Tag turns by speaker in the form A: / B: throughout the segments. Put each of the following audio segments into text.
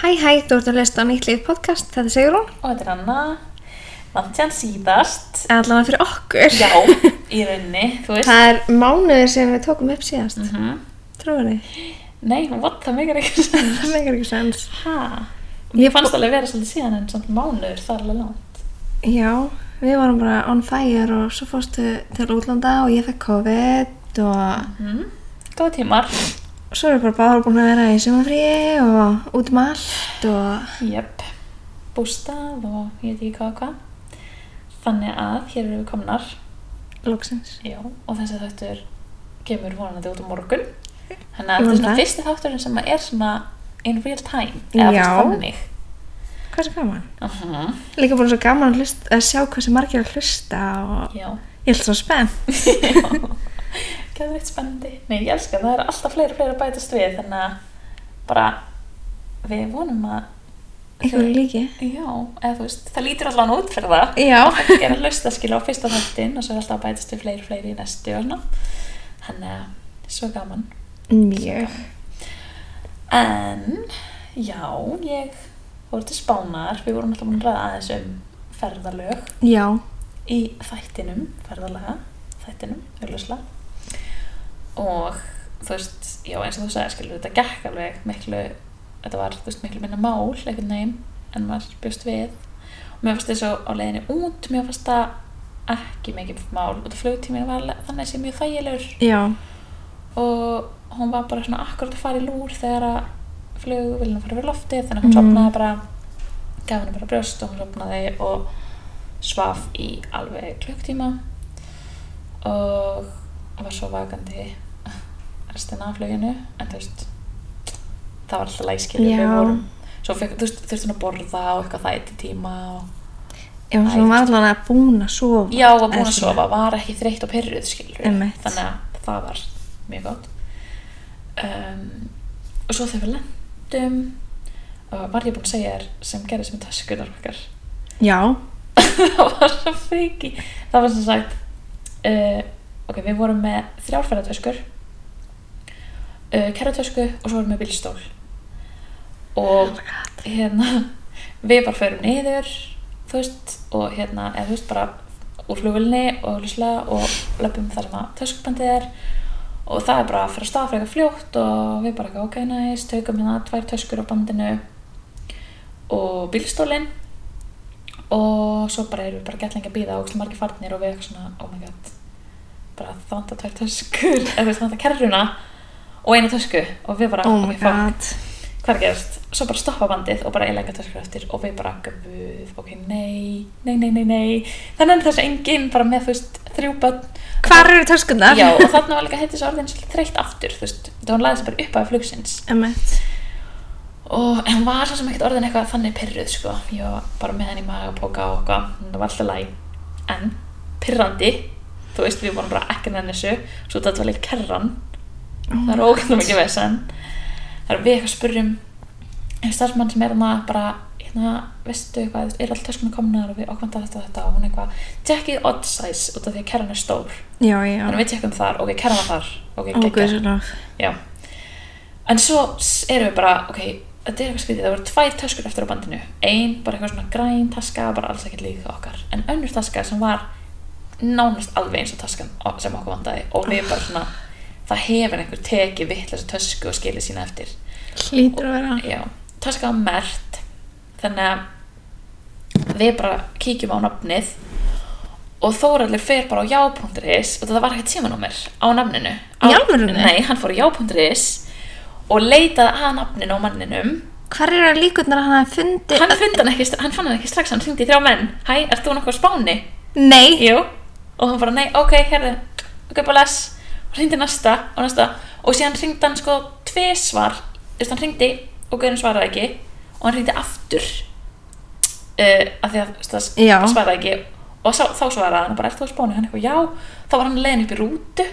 A: Hæ hæ, þú ert að hlusta á nýtt líf podcast, þetta segir hún,
B: Og þetta er Anna, langt sér síðast.
A: allavega fyrir okkur.
B: Já, í rauninni, þú veist.
A: Það er mánuður sem við tókum upp síðast, mm.
B: Mhm.
A: trúið
B: Nei, what, það meikar ekki sens.
A: Það meikar ekki sens.
B: Hæ? Mér fannst alveg vera svolítið síðan en samt mánuður, það er alveg langt.
A: Já, við vorum bara on fire og svo fórstu til útlanda og ég fekk COVID og
B: Mm. Góð tímar.
A: svo erum við bara báður búin að vera í sumafríi og út um allt og
B: Jöpp. Bústað og ég veit ekki hvað og hvað. Þannig að hér eru við komnar.
A: loksins.
B: Já, og þessi þáttur kemur vonandi út á morgun. Þannig að
A: Ég
B: þetta
A: vona
B: er svona
A: það.
B: fyrsti þátturinn sem er svona in real time. Eða
A: Já.
B: fyrst þannig.
A: Hvað sem gaman?
B: Uh
A: Líka bara svo gaman að, hlusta, að sjá hvað sem margir að hlusta og
B: Já.
A: ég er svo spennt.
B: Gæðveitt spennandi. Nei, ég elska það. Það eru alltaf fleiri og fleiri að bætast við. Þannig að bara við vonum að...
A: Ykkur líki.
B: Já, eða þú veist, það lítur allan út fyrir það.
A: Já.
B: Ég er að lausta skilja á fyrsta þáttin og svo er alltaf að bætast við fleiri og fleiri í næstu og svona. Þannig að svo gaman.
A: Mjög.
B: En, já, ég fór til Spánar. Við vorum alltaf búin að ræða aðeins um ferðalög
A: Já.
B: í þættinum, ferðalega þættinum, auðvitað og þú veist, já eins og þú sagði skilur þetta gekk alveg miklu þetta var þú veist, miklu minna mál einhvern veginn en maður bjóst við og mér fannst þess að á leiðinni út mér fannst það ekki mikið mál og það flugtíminn var alveg- þannig sem mjög þægilegur
A: Já.
B: og hún var bara svona akkurat að fara í lúr þegar að flugvillin að fara við loftið þannig að hún
A: Mm.
B: sopnaði bara gaf henni bara brjóst og hún sopnaði og svaf í alveg klukktíma og var svo vakandi restina af fluginu en þú veist það var alltaf læskilur
A: Já.
B: við vorum svo fekk, þú veist, þurfti hún að borða og eitthvað það eitt tíma og
A: Já,
B: Æ,
A: svo hún var allavega búin að sofa.
B: Já, var búin
A: Eða
B: að
A: svona.
B: sofa, var ekki þreytt og pyrruð, skilur
A: Einmitt.
B: Þannig að það var mjög gott. Um, og svo þegar við lendum, uh, var ég búin að segja þér sem gerðist með töskunar okkar.
A: Já,
B: það var svo friki. Það var sem sagt, uh, ok, við vorum með þrjárferðartöskur, uh, kerratösku og svo vorum við bílstól.
A: Oh
B: Og hérna, við bara förum niður þú veist, og hérna eða þú veist, bara úr flugvölinni og hlustlega og löpum þar sem að töskubandið er og það er bara að fara að staða frekar fljótt og við bara eitthvað ok, næst, tökum hérna tvær töskur á bandinu og bílstólinn og svo bara erum við bara gett lengi að býða og ógeðslega margir farnir og við eitthvað svona, oh my god bara það vantar tvær töskur eða þú veist, það vantar kerruna og eina tösku og við bara,
A: oh my
B: "Ok, fuck."
A: god.
B: hvað er gerst, svo bara stoppa bandið og bara eiginlega töskur eftir og við bara guð, ok, nei, nei, nei, nei, nei þannig að þessi enginn bara með þú veist, þrjú börn
A: Hvar eru töskunar?
B: já, og þannig var líka heitt þessi orðin svolítið þreytt aftur, þú veist, þá hún laði sig bara upp af flugsins
A: Emmett.
B: og en hún var svo sem ekkert orðin eitthvað þannig pyrruð, sko, ég var bara með henni í magapoka og eitthvað, það var alltaf læg en pyrrandi þú veist, við vorum bara ekki með þessu svo þetta var líka kerran það er ógæðum ekki vesen það er við eitthvað spurðum einn starfsmann sem er maður bara hérna, veistu eitthvað, er alltaf töskunum komnar og við ákvæmta þetta og þetta og hún eitthvað tjekkið odd size út af því að kerran er stór
A: Já, já. Oh,
B: þannig við tjekkum þar, ok, kerran var þar ok,
A: Ó, guð
B: geggja,
A: svo lof.
B: já en svo s- erum við bara, ok þetta er eitthvað skrítið, það voru tvær töskur eftir á bandinu ein, bara eitthvað svona græn taska bara alls ekkert líka okkar, en önnur taska sem var nánast alveg eins og taskan o- sem okkur vandaði og við bara svona það hefur einhver tekið vittlasa tösku og skilið sína eftir
A: Hlýtur að vera.
B: já, taska var mert þannig að við bara kíkjum á nafnið og Þóraldur fer bara á já.is og það var ekkert símanúmer á nafninu á,
A: Í alvörunni?
B: Nei, hann fór á já.is og leitaði að nafninu á manninum
A: Hvar eru líkurnar að hann hafi fundið?
B: hann, fundi hann, ekki, hann fann hann ekki strax, hann hringdi í þrjá menn Hæ, ert þú nokkuð á spáni?
A: Nei.
B: Jú, og hann bara nei, ok, herðu, ok, bara les og hringdi næsta og næsta og síðan hringdi hann sko tvisvar þú veist, hann hringdi og Guðrun svaraði ekki og hann hringdi aftur uh, af því að þú veist,
A: Já.
B: það svaraði ekki og sá, þá svaraði hann bara, ert þú að spánu hann eitthvað, já, þá var hann leiðin upp í rútu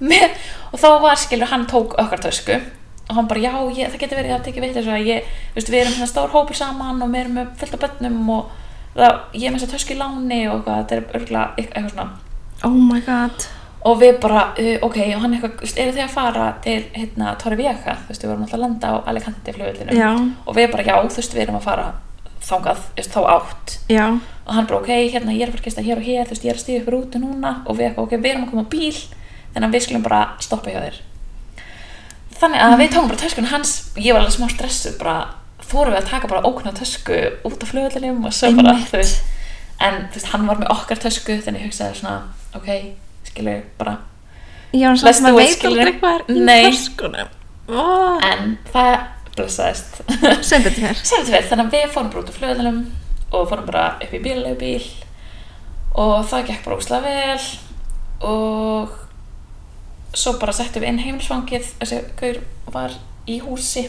B: með, og þá var skilur hann tók okkar tösku og hann bara, já, ég, það getur verið að tekja veit þessu að ég, þú veist, við erum hérna stór hópur saman og við erum með fullt af börnum og það, ég er með þess að tösku í láni og hvað, þetta er örgulega eitthvað svona
A: Oh my god.
B: og við bara, uh, ok, og hann eitthvað, þú veist, eru þið að fara til hérna Torrevieja, þú veist, við vorum alltaf að landa á Alicante flugvillinu
A: Já.
B: og við bara, já, þú veist, við erum að fara þangað, þú veist, þá átt
A: já,
B: og hann bara, ok, hérna, ég er að fara að gesta hér og hér, þú veist, ég er að stíða upp rútu núna og við eitthvað, ok, við erum að koma á bíl þannig að við skulum bara stoppa hjá þér þannig að við tókum bara töskun hans ég var alveg smá stressuð, bara þórum við að taka bara ókunna tösku út á flugvöldinum og svo bara,
A: Einmitt.
B: þú veist en þú veist, hann var með okkar tösku þannig ég hugsaði svona, ok, skilur bara
A: já, en
B: Let's
A: samt maður
B: do it,
A: veit
B: skilurðu.
A: aldrei hvað er í
B: Nei.
A: töskunum. Ó,
B: en það blessaðist
A: Sem betur fer.
B: Sem betur fer, þannig að við fórum bara út á flugðalum og fórum bara upp í bílaleigubíl og það gekk bara óslega vel og svo bara settum við inn heimilsfangið þessi gaur var í húsi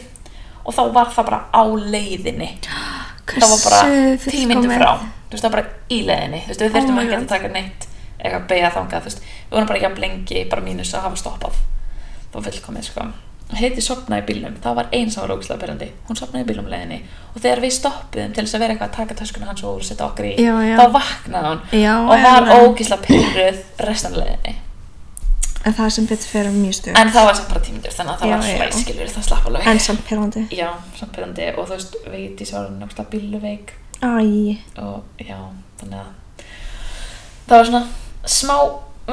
B: og þá var það bara á leiðinni það var bara
A: Hversu
B: tímyndu
A: fullkomið. Oh
B: frá þú veist það var bara í leiðinni þú veist við þurftum
A: my
B: ekki
A: God.
B: að taka neitt eitthvað beigja þangað þú veist við vorum bara ekki að blengi bara mínus að hafa stoppað það var fullkomið sko heiti sopnaði í bílnum, það var eins sem var ógæslega byrjandi hún sopnaði í bílnum leiðinni og þegar við stoppuðum til þess að vera eitthvað að taka töskuna hans og setja okkur í,
A: Já, já.
B: þá vaknaði hún
A: Já,
B: og var
A: já.
B: ógæslega pyrruð restan af leiðinni
A: En það sem betur fyrir mjög stuð.
B: en það var sem bara tímyndur þannig að
A: Já,
B: það var svona
A: já.
B: skilur það slapp alveg
A: En samt perlandi.
B: já, samt byrjandi og þú veist, Vigdís var náttúrulega bíluveik
A: Æ,
B: og já, þannig að það var svona smá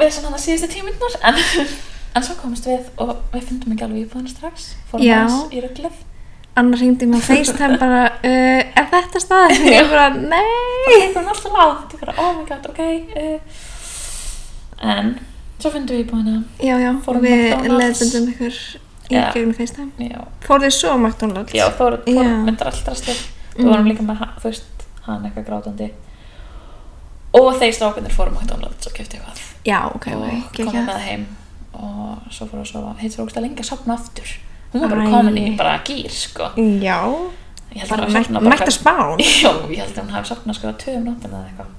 B: við sem hann að síðustu tímundnar en, en svo komumst við og við fundum ekki alveg íbúðina strax fórum
A: Já.
B: aðeins í rugglið
A: annar hringdi mig á FaceTime bara, uh, er þetta staðið? Ég bara,
B: það
A: nei.
B: er hún alltaf lág þetta er bara, oh my god, ok uh, en svo fundum við íbúðina
A: Já, já,
B: Fórum
A: við
B: McDonald's.
A: leðbundum ykkur í
B: Já.
A: gegnum FaceTime.
B: já,
A: Fór þið svo á McDonalds?
B: já þá voru,
A: Já. Mm.
B: voru myndir alltaf drastlið við vorum líka með, ha- þú veist, hann eitthvað grátandi og þeir strákunir fórum á McDonalds og kefti eitthvað
A: Já, ok, ok,
B: og komið með
A: geggjað.
B: það heim og svo fór að sofa hitt var ógstlega lengi að sopna aftur hún var bara
A: Æ.
B: komin í bara gýr sko
A: Já,
B: ég held
A: bara
B: að
A: mætt
B: hún
A: mætt að spán.
B: já, ég held að hún hafi sopnað sko tvö um nóttina eða eitthvað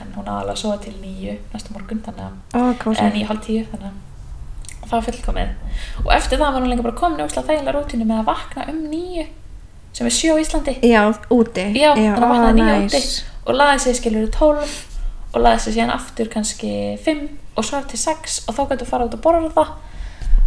B: en hún aðalega sofa til nýju næsta morgun þannig
A: Ó,
B: að eða
A: kósi.
B: nýju hálf tíu þannig að það var fullkomið og eftir það var hún lengi bara komin í ógstlega þægilega rútinu með að vakna um nýju sem er sjö á Íslandi
A: Já, úti.
B: já, þannig að
A: ó,
B: vaknaði nýja
A: næs.
B: úti og laði sig skilur 12 og laði sig síðan aftur kannski 5 og svo til 6 og þá gætu fara út að borða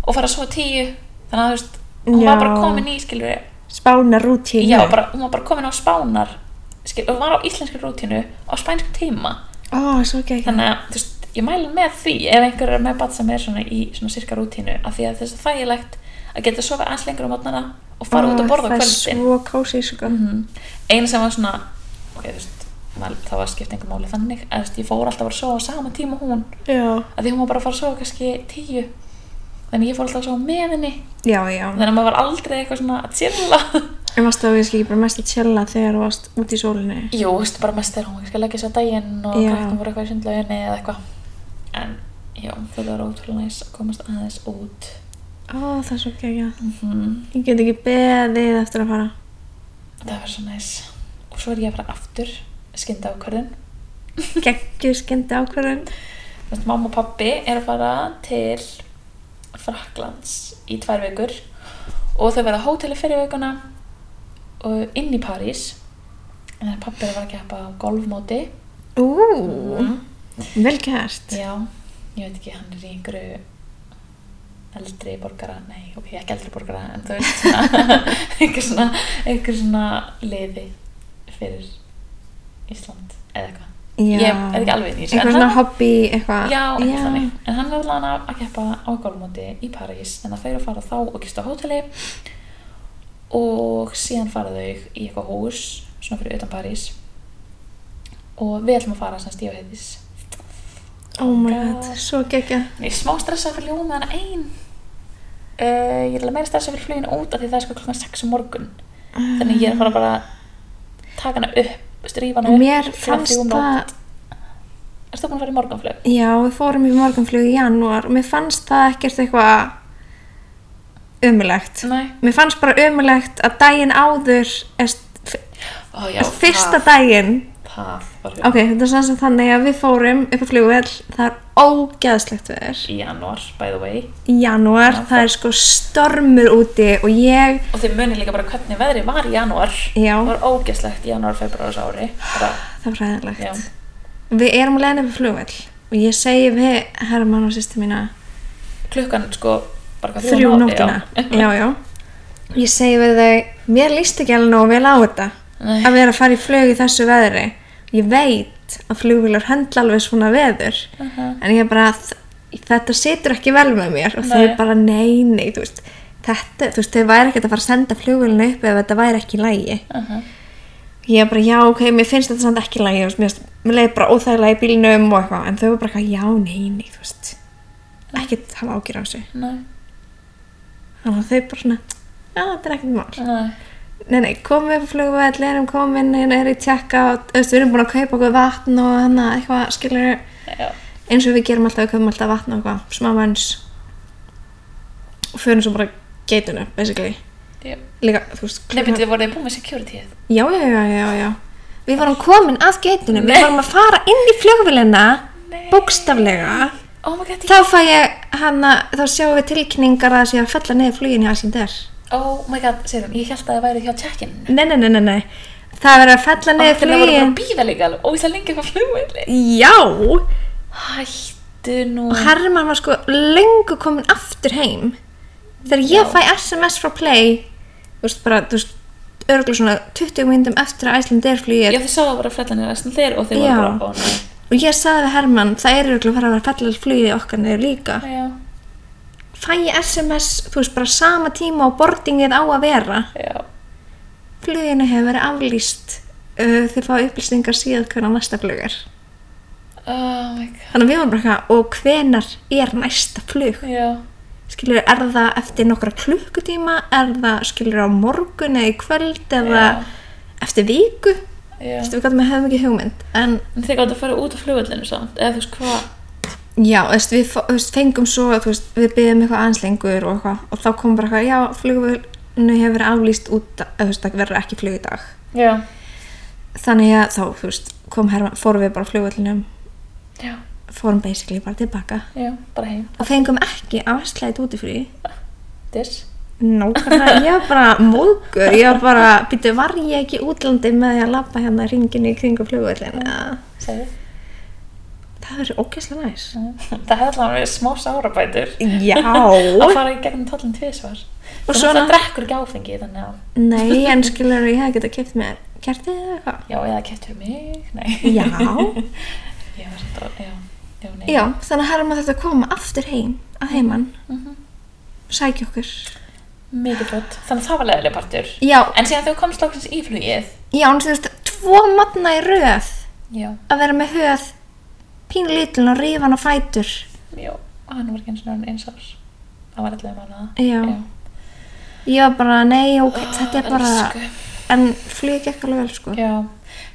B: og fara svo 10 þannig að þú veist, hún
A: Já.
B: var bara komin í skilur
A: Spána rútínu.
B: já, bara, hún var bara komin á spánar skilur, hún var á íslenski rútínu á spænsku tíma
A: Ó, svo geggjað.
B: þannig að þú veist, ég mæli með því ef einhver er með bat sem er svona í svona sirka rútínu af því að þess að þægilegt að geta sofa aðeins lengur á mótnana og fara út
A: Ó,
B: að borða á
A: Það er
B: kvöldin
A: svo kósi, sko.
B: mm. eina sem var svona ok, þú veist, maður, það var skipt einhver máli þannig að þú veist, ég fór alltaf að fara að sofa á sama tíma og hún
A: Já.
B: að því hún var bara að fara að sofa kannski tíu þannig ég fór alltaf að sofa með henni
A: Já, já.
B: þannig að maður var aldrei eitthvað svona að chilla
A: En varst það kannski ekki bara mest að chilla þegar þú varst úti í sólinni?
B: jú, þú veist, bara mest þegar hún var kannski að leggja sér á daginn og
A: Já.
B: krakkum voru eitthvað í sundlauginni eða eitthvað en já, það var ótrúlega næs að komast aðeins út
A: Ó, það er svo geggjað.
B: mm.
A: Ég get ekki beðið eftir að fara.
B: það var svo næs og svo er ég að fara aftur skynda ákvörðun
A: Geggjuð skendi ákvörðun.
B: Þú veist, mamma og pappi er að fara til Fraklands í tvær vikur og þau verða á hóteli fyrir vikuna og inn í París en þannig að pappi er að fara að keppa á golfmóti
A: Ú,
B: Mhm.
A: vel gert.
B: já, ég veit ekki, hann er í einhverju eldri borgara nei, ok, ekki eldri borgara en þú veist svona einhver svona, einhver svona liði fyrir Ísland eða eitthvað
A: Já.
B: ég er ekki alveg nýr
A: Eitthvað svona hobby, eitthvað.
B: Já, já. þannig. En hann verður lana að keppa á gólmóti í París en það þau eru að fara þá og gista á hóteli og síðan fara þau í eitthvað hús svona fyrir utan París og við ætlum að fara sem stíu heitis.
A: Oh my god, svo geggjað.
B: Ég er smá stressað fyrir ljóma hana ein. Uh, ég er alveg meira stressað fyrir fluginu út af því það er sko klokkan 6 um morgun. Þannig ég er að fara bara að taka hana upp, strífa hana upp.
A: Mér
B: klukkan
A: fannst
B: þrjú um
A: það-
B: nótt. Erstu búin að fara í morgunflug?
A: Já, við fórum í morgunflug í janúar og mér fannst það ekkert eitthvað ömulegt.
B: Nei.
A: Mér fannst bara ömulegt að daginn áður, est,
B: Ó, já,
A: fyrsta
B: það,
A: daginn,
B: það var
A: ok, þetta er sanns að þannig að við fórum upp á flugvell, það er ógeðslegt veður.
B: í janúar, by the way
A: Í janúar,
B: Já,
A: það er sko stormur úti og ég
B: og þið munið líka bara hvernig veðrið var í janúar
A: Já. Ah,
B: það var ógeslegt í janúar, februar ári bara,
A: Það var ræðilegt.
B: já,
A: Við erum að leiðin upp í flugvell. og ég segi við Herman og sýstu mína
B: klukkan sko bara hvað,
A: þrjú um
B: á-
A: nóttina
B: já.
A: já, já ég segi við þau, mér líst ekki alveg nógu vel á þetta
B: Nei.
A: að vera að fara í flug í þessu veðri ég veit að flugvílar höndla alveg svona veður
B: Aha.
A: en ég er bara að þetta situr ekki vel með mér og
B: Nei.
A: þau bara nei, nei, þú veist þetta, þú veist, þau væri ekkert að fara að senda flugvílinu upp ef þetta væri ekki í lægi
B: Aha.
A: ég er bara, já, ok, mér finnst þetta samt ekki lægi, mér, finnst- mér leiði bara óþægilega í bílnum og eitthvað, en þau var bara eitthvað, já, nei, nei, þú veist, ekkert hafa ágjur á þessu.
B: Nei,
A: Þannig að þau bara svona, já, þetta er ekkert mál.
B: nei.
A: Nei, nei, komum við upp á flugveld, erum komin, hérna er í tjekka, þú veist, við erum búin að kaupa okkur vatn og hana, eitthvað, skilur,
B: Já.
A: eins og við gerum alltaf, við kaupum alltaf vatn og eitthvað, smá manns, og förum svo bara geitunum, basically.
B: Já.
A: Líka, þú veist,
B: Nei, byrju, voruð þið búin með security
A: Já, já, já, já, já. Við varum komin að geitunum, við varum að fara inn í flugvélina,
B: Nei.
A: bókstaflega.
B: Oh my god,
A: Þá fæ ég hana, þá sjáum við tilkningar að það sé að fella niður flugin í Asinder.
B: oh my god, segir hún, ég held að það væri hjá check-in
A: Nei, nei, nei, nei, nei. Það verður að fella niður
B: Það voru bara
A: flugin.
B: að býða líka alveg óvíslega lengi frá flugvelli
A: Já.
B: Hættu nú
A: Og Herman var sko lengur komin aftur heim. Þegar ég fæ SMS frá Play, þú veist bara, þú veist, örgulega svona 20 myndum eftir að Icelandair flugið
B: Já, þið sáðu bara að flella niður æslan þér og þið
A: Já.
B: voru bara að bóna
A: og ég sagði við Herman, það er örgulega að fara að vera að fella flugið okkar niður líka.
B: Já,
A: fæ ég SMS, þú veist, bara sama tíma og boardingið á að vera.
B: já
A: Fluginu hefur verið aflýst uh, þið fá upplýsningar síðan hvernig næsta flug er.
B: Oh my god,
A: Þannig að við varum bara eitthvað, og hvenar er næsta flug?
B: já
A: Skilur, er það eftir nokkra klukkutíma? Er það, skilur, á morgun eða í kvöld eða
B: Já.
A: eftir viku? Þú
B: Já.
A: veist, við gætum að hefum ekki hugmynd. En
B: En þið gáttu að fara út á flugvellinu samt eða þú veist hvað
A: Já, þú veist, við fó- þú veist, fengum svo, þú veist, við byggðum eitthvað aðeins lengur og eitthvað og þá kom bara eitthvað, já, flugvölu hefur verið aflýst út, að, þú veist, það verður ekki flug í dag.
B: Já,
A: Þannig að þá, þú veist, kom herma, fórum við bara flugvölinum,
B: já,
A: fórum basically bara tilbaka
B: já, bara heim
A: og fengum ekki að vestlæðið út í frí.
B: Dis
A: Nákvæmlega, ég var bara móðgur, ég var bara, býttu, var ég ekki í útlandi með því að labba hérna ringinu í kringum flugvölinu?
B: Segðu
A: Það verður ógæslega næs.
B: Það hefði allavega verið smá sárabætur
A: Já.
B: að fara í gegnum tollin tvisvar
A: Og
B: og
A: svona-
B: svona það drekkur ekki áfengi þannig að
A: Nei, en skilur, ég hef getað kæft mér kertið eða eitthvað.
B: já, eða kæft fyrir mig nei.
A: Já.
B: ég var svolítið að- já, já, nei.
A: Já, þannig að Herma þetta koma aftur heim að heiman, sækja okkur.
B: mikið flott, þannig að það var leðileg partur
A: Já,
B: en síðan þegar þú komst lóksins í flugið
A: já, en þú veist, tvo matna í röð
B: já,
A: að vera með höð pínlítlun og rífan og fætur.
B: já, og hann var ekki eins og hann eins árs það var allavega mánuða
A: Já. Ég var bara, nei, ok, þetta er bara,
B: Ah, elsku.
A: en flug ekki alveg vel, sko.
B: já,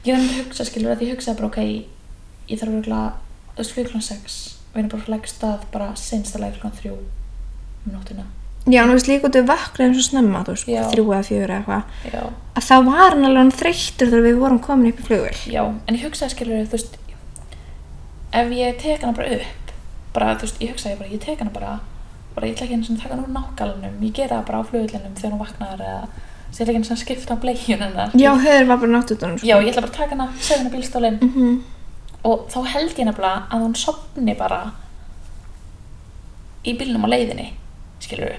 B: ég var með hugsa skilur að ég hugsaði bara ok ég þarf örgulega, þú veist, flugklun 6 og ég er bara að leggja stað bara sinstalega klukkan 3 um nóttina
A: Já, en þú veist, líka út við vaknaði eins og snemma, þú veist,
B: Já.
A: þrjú eða fjögur eða eitthvað.
B: já
A: Að þá var hann alveg þreyttur þegar við vorum komin upp í flugvel.
B: Já, en ég hugsaði skilur þú veist ef ég tek hana bara upp bara þú veist, ég hugsaði bara, ég tek hana bara bara ég ætla ekki einu sinni að taka hana úr nákvæmlunum ég gera það bara á flugullinum þegar hún vaknar eða ég ætla ekki einu sinni að skipta á bleikjun hennar
A: Já, höður var bara náttutunum, sko.
B: Já, ég ætla bara að taka hana, segja hana bílstólinn
A: Mm -hmm.
B: og þá held ég nefnilega að hún sopni bara í bílnum á leiðinni skilur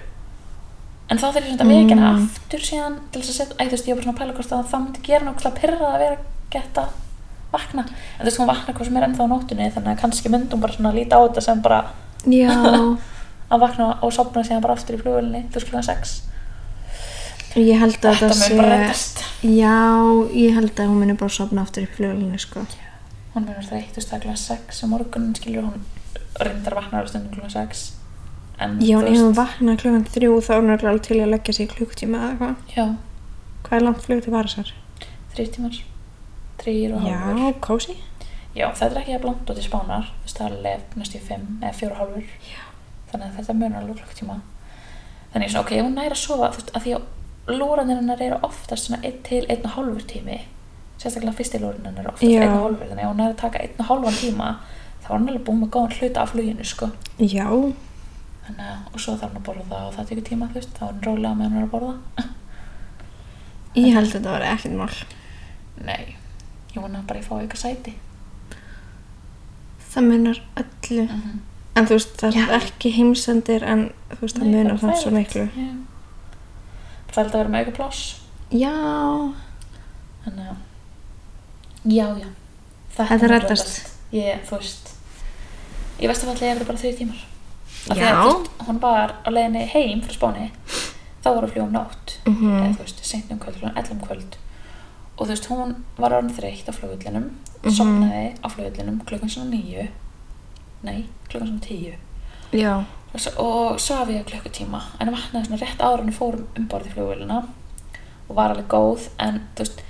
B: en þá þarf ég svona að vekja
A: Mm.
B: hana aftur síðan til þess að setja, æ, þú veist, ég var bara svona að pæla hvort að það myndi gera nákvæmlega pyrrað að vera geta vakna, en þú veist, hún vakna hvað sem er ennþá á nóttunni, þannig að kannski myndi hún bara svona að líta á þetta sem bara
A: Já.
B: að vakna og sopna síðan bara aftur í flugvölinni, þú veist, klukkan 6
A: Ég held að
B: Þetta
A: þetta
B: mun
A: sé...
B: bara reddast.
A: Já, ég held að hún muni bara sopna aftur upp flugulunni, sko.
B: hún verður þreytt, þú veist, það er klukkan 6 um morgunin skilur hún reyndar vaknar á stundum klukkan 6 en,
A: Já, en
B: þú
A: ef
B: veist,
A: hún vaknar klukkan þrjú þá er hún örugglega alveg til í að leggja sig í klukkutíma eða eitthvað.
B: já,
A: Hvað er langt flug til Varisar?
B: þrýr tímar þrýr og
A: Já,
B: hálfur
A: kósi.
B: já, þetta er ekki að blanda út í spánar þú veist það er alveg næstu í fimm eða fjóra og hálfur já. þannig að þetta munar alveg klukktíma þannig ég er svona, ok, ef hún næri að sofa þú veist, að því að lúranir hennar eru oftast svona 1 til 1 og hálfur tími sérstaklega fyrsti lúranir hennar er oftast
A: Já.
B: 1 og hálfur þannig að ef hún næri að taka 1 og hálfan tíma þá er hann alveg búin með góðan hluta af fluginu sko.
A: Já.
B: þannig að, og svo þarf hann að borða það og það tekur tíma, þú veist, þá er hann rólega með hann að borða
A: Ég held að þetta var ekkert mál.
B: nei, ég vona bara að ég fá eitthvað sæti
A: það munar öllu
B: Mhm.
A: en þú veist, það er
B: Já.
A: ekki heimsendir en þú veist, það
B: Nei,
A: munar
B: bara
A: það svo
B: þægilegt.
A: miklu
B: Já. Það er alltaf að vera með auka pláss.
A: já,
B: Þannig að, já, já.
A: Þetta
B: mun
A: reddast.
B: Ég, þú veist, í vestafalli eru bara þau tímar. Af því
A: já
B: Að, þú veist, hún var á leiðinni heim frá Spáni, þá voru að fljúa um nótt.
A: Mhm.
B: Eða þú veist, seint um kvöld, klukkan 11 um kvöld. Og þú veist, hún var orðin þreytt á flugullinum,
A: Mhm.
B: sopnaði á flugullinum klukkan svona níu, nei, klukkan svona tíu.
A: já,
B: Og s- og svaf ég klukkutíma en vaknaði svona rétt ára en fórum um borð í flugvélina og var alveg góð en þú veist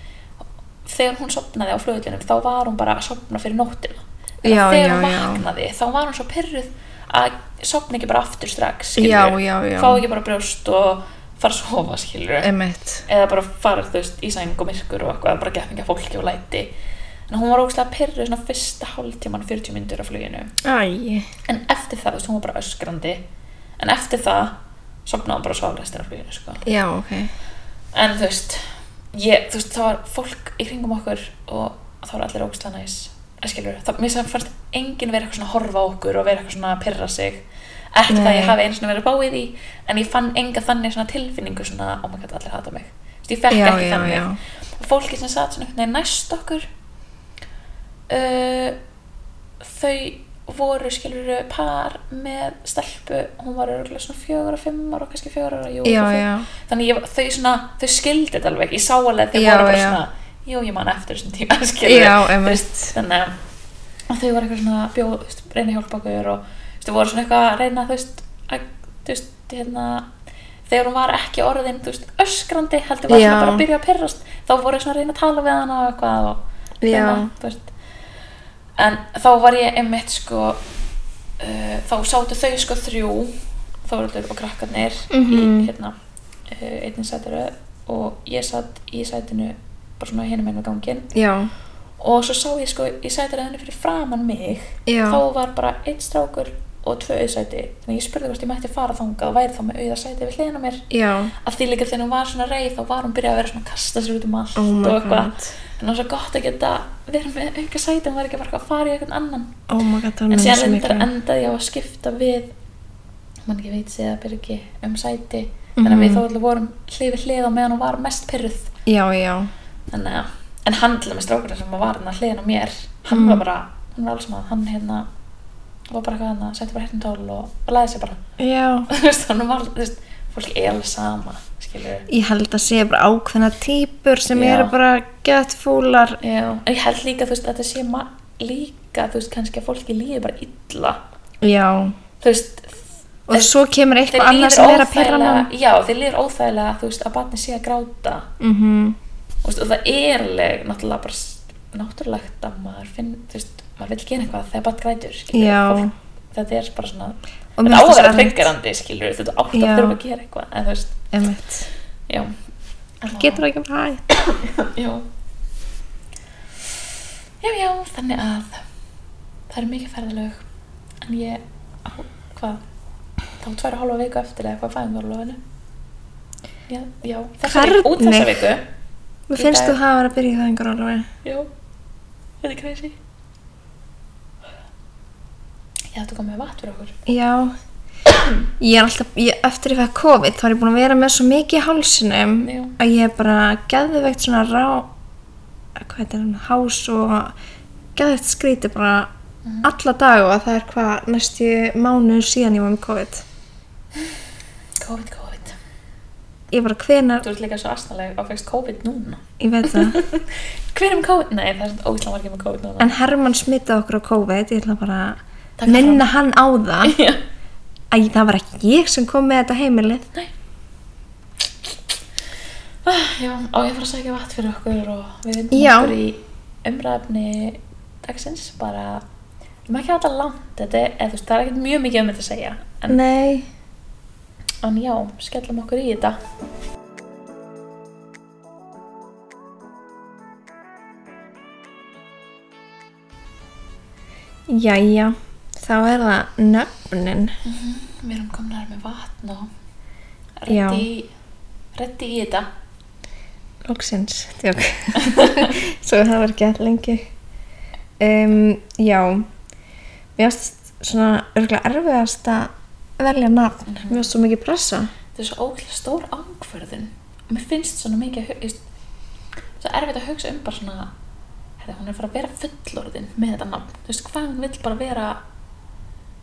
B: þegar hún sopnaði á flugvélinum þá var hún bara að sopna fyrir nóttina En
A: Já, já,
B: þegar hún
A: já.
B: vaknaði þá var hún svo pyrruð að sopna ekki bara aftur strax
A: Já,
B: skilurðu.
A: já, já.
B: fá ekki bara brjóst og fara að sofa skilur
A: emitt
B: eða bara fara þú veist í sæng og myrkur og eitthvað bara gefninga fólki og læti en hún var ógustlega pyrruð svona fyrsta hálftíman 40 myndur af fluginu
A: æ,
B: en eftir það, þú veist, hún var bara öskrandi en eftir það sopnaði hún bara og svaf restina af fluginu sko.
A: já, ok
B: en þú veist, ég, þú veist það var fólk í kringum okkur og það var allir ógstlega næs Eða skilur, það, mér sem fannst enginn vera eitthvað svona að horfa á okkur og vera eitthvað svona að pyrra sig ekki það að
A: Nei.
B: ég hafi einu svona verið að bá í því en ég fann enga þannig svona tilfinningu svona, oh my god, allir hata mig Þú veist, ég fekk
A: Já,
B: ekki
A: já,
B: þannig
A: já.
B: fólki sem satt svona einhvern veginn næst okkur uh, þau voru skilur par með stelpu hún var örgulega svona fjögur og fimm ára kannski fjögur ára, jú,
A: Já,
B: örugglega fimm.
A: já.
B: þannig ég, þau, svona, þau skildi þetta alveg ég sá alveg að þau
A: Já,
B: voru bara
A: já.
B: svona jú, ég man eftir þessum tíma skilur
A: Já,
B: Þú
A: einmitt.
B: veist, þannig að að þau voru eitthvað svona að bjóð, þú veist, reyna að hjálpa okkur og þú veist, þau voru svona eitthvað að reyna þú veist, að, þú veist, hérna þegar hún var ekki orðin, þú veist, öskrandi heldur var
A: Já.
B: svona bara að byrja að pyrrast þá voru þau svona að reyna að tala við hana og eitthvað og reyna,
A: Já.
B: þú veist en þá var ég einmitt sko uh, þá sátu þau sko þrjú Þóruldur og krakkarnir
A: Mhm.
B: í hérna uh, einnig sæturu og ég satt í sætinu bara svona hinum einu gangin
A: já,
B: og svo sá ég sko í sætiræðinu fyrir framann mig
A: Já.
B: þá var bara einn strákur og tvö auðsæti þannig ég spurði hvort ég mætti fara þangað og væri þá með auðarsæti við hliðina á mér
A: já
B: af því líka þegar hún var svona reið þá var hún byrjað að vera svona að kasta sér út um allt
A: Oh my
B: og eitthvað
A: God.
B: en það var svo gott að geta verið með auka sæti hún var ekki bara eitthvað að fara í eitthvað annan
A: oh my god, það
B: en
A: munar
B: síðan
A: svo
B: reyndar
A: miklu
B: endaði ég á að skipta við mann ekki veit séð að byrgi um sæti þannig að við
A: Mhm.
B: þá allir vorum hlið við hlið á meðan hún var mest pyrruð
A: já, já,
B: þannig að, en hann til dæmis strákurinn sem var hann að hliðin á mér hann
A: Mm.
B: var bara, hann var alls maður hann hérna, var bara eitthvað hann setti bara hérna tól og, og læði sér bara
A: já
B: þú veist, hann var, þú veist, fólk er alveg sama skilur
A: Ég held að sé bara ákveðna típur sem
B: Já.
A: eru bara gett fúlar.
B: já, en ég held líka, þú veist, að þetta sé ma- líka, þú veist, kannski að fólki líði bara illa,
A: Já.
B: þú veist
A: Og
B: Eh,
A: svo kemur
B: þeir
A: eitthvað annað
B: líður
A: sem er að pyrra mann.
B: óþægilega- já, þeir líður óþægilega, þú veist, að barni sé að gráta
A: Mm
B: Mhm. Þú veist, og það er alveg náttúrulega bara s- náttúrulegt að maður finn, þú veist, maður vil gera eitthvað þegar bara grætur, skilur
A: Já.
B: þetta er bara svona,
A: Og mér finnst
B: þetta á að
A: það
B: vera
A: svo erfitt.
B: tryggarandi, skilur þetta átt að
A: Já.
B: þurfa að gera eitthvað, en þú veist,
A: Emmett.
B: já
A: Getur það ekki bara hægt.
B: það já. já, já, þannig að það eru mikið ferðalög en ég, á, hvað þá tværa hálfa viku eftir eða eitthvað fæðingarlófinu já, já, þessa viku, út þessa
A: Hvernig?
B: viku
A: Mér
B: Í
A: finnst
B: dag-
A: þú hafa verið að byrja í það einhver alveg.
B: Já, þetta er crazy. Ég ætti að koma með vatn fyrir okkur.
A: Já. Ég er alltaf, ég, eftir ég fæði COVID þá er ég búin að vera með svo mikið í hálsinum
B: Já.
A: að ég er bara geðveikt svona rá, hvað heitir hann, hás og geðveikt skríti bara
B: Mhm.
A: alla dag og það er hvað næstu mánuður síðan ég var með COVID.
B: COVID, COVID.
A: Ég bara hvenar,
B: Þú ert líka svo astalega og fegst COVID núna.
A: ég veit það.
B: Hver er með COVID? Nei, það er svona ógæslega margir með COVID núna.
A: En Herman smitaði okkur á COVID, ég ætla bara að
B: Taka
A: minna hann á það
B: Já.
A: að það var ekki ég sem kom með þetta heimilið.
B: Ah, já, á ég að fara að sækja vatn fyrir okkur og við vindum
A: Já.
B: okkur í umræfni dagsins bara við maður ekki alltaf langt, þetta er, eða þú veist, það er ekkert mjög mikið um þetta að segja, en,
A: Nei.
B: en já, skellum okkur í þetta.
A: Jæja, þá er það nöfnin.
B: Við erum komnar með vatn og
A: Já.
B: reddi, reddi í þetta.
A: Lóksins, tjók. Svo það var ekki alltaf lengi. Um, já, mér finnst svona örgulega erfiðast að velja nafn mér finnst svo mikið pressa
B: þetta er svo ógeðslega stór ákverðin og mér finnst svona mikið að hu- ég veist, svo erfitt að hugsa um bara svona hefði hún er að fara að vera fullorðin með þetta nafn, þú veist hvað hún vill bara vera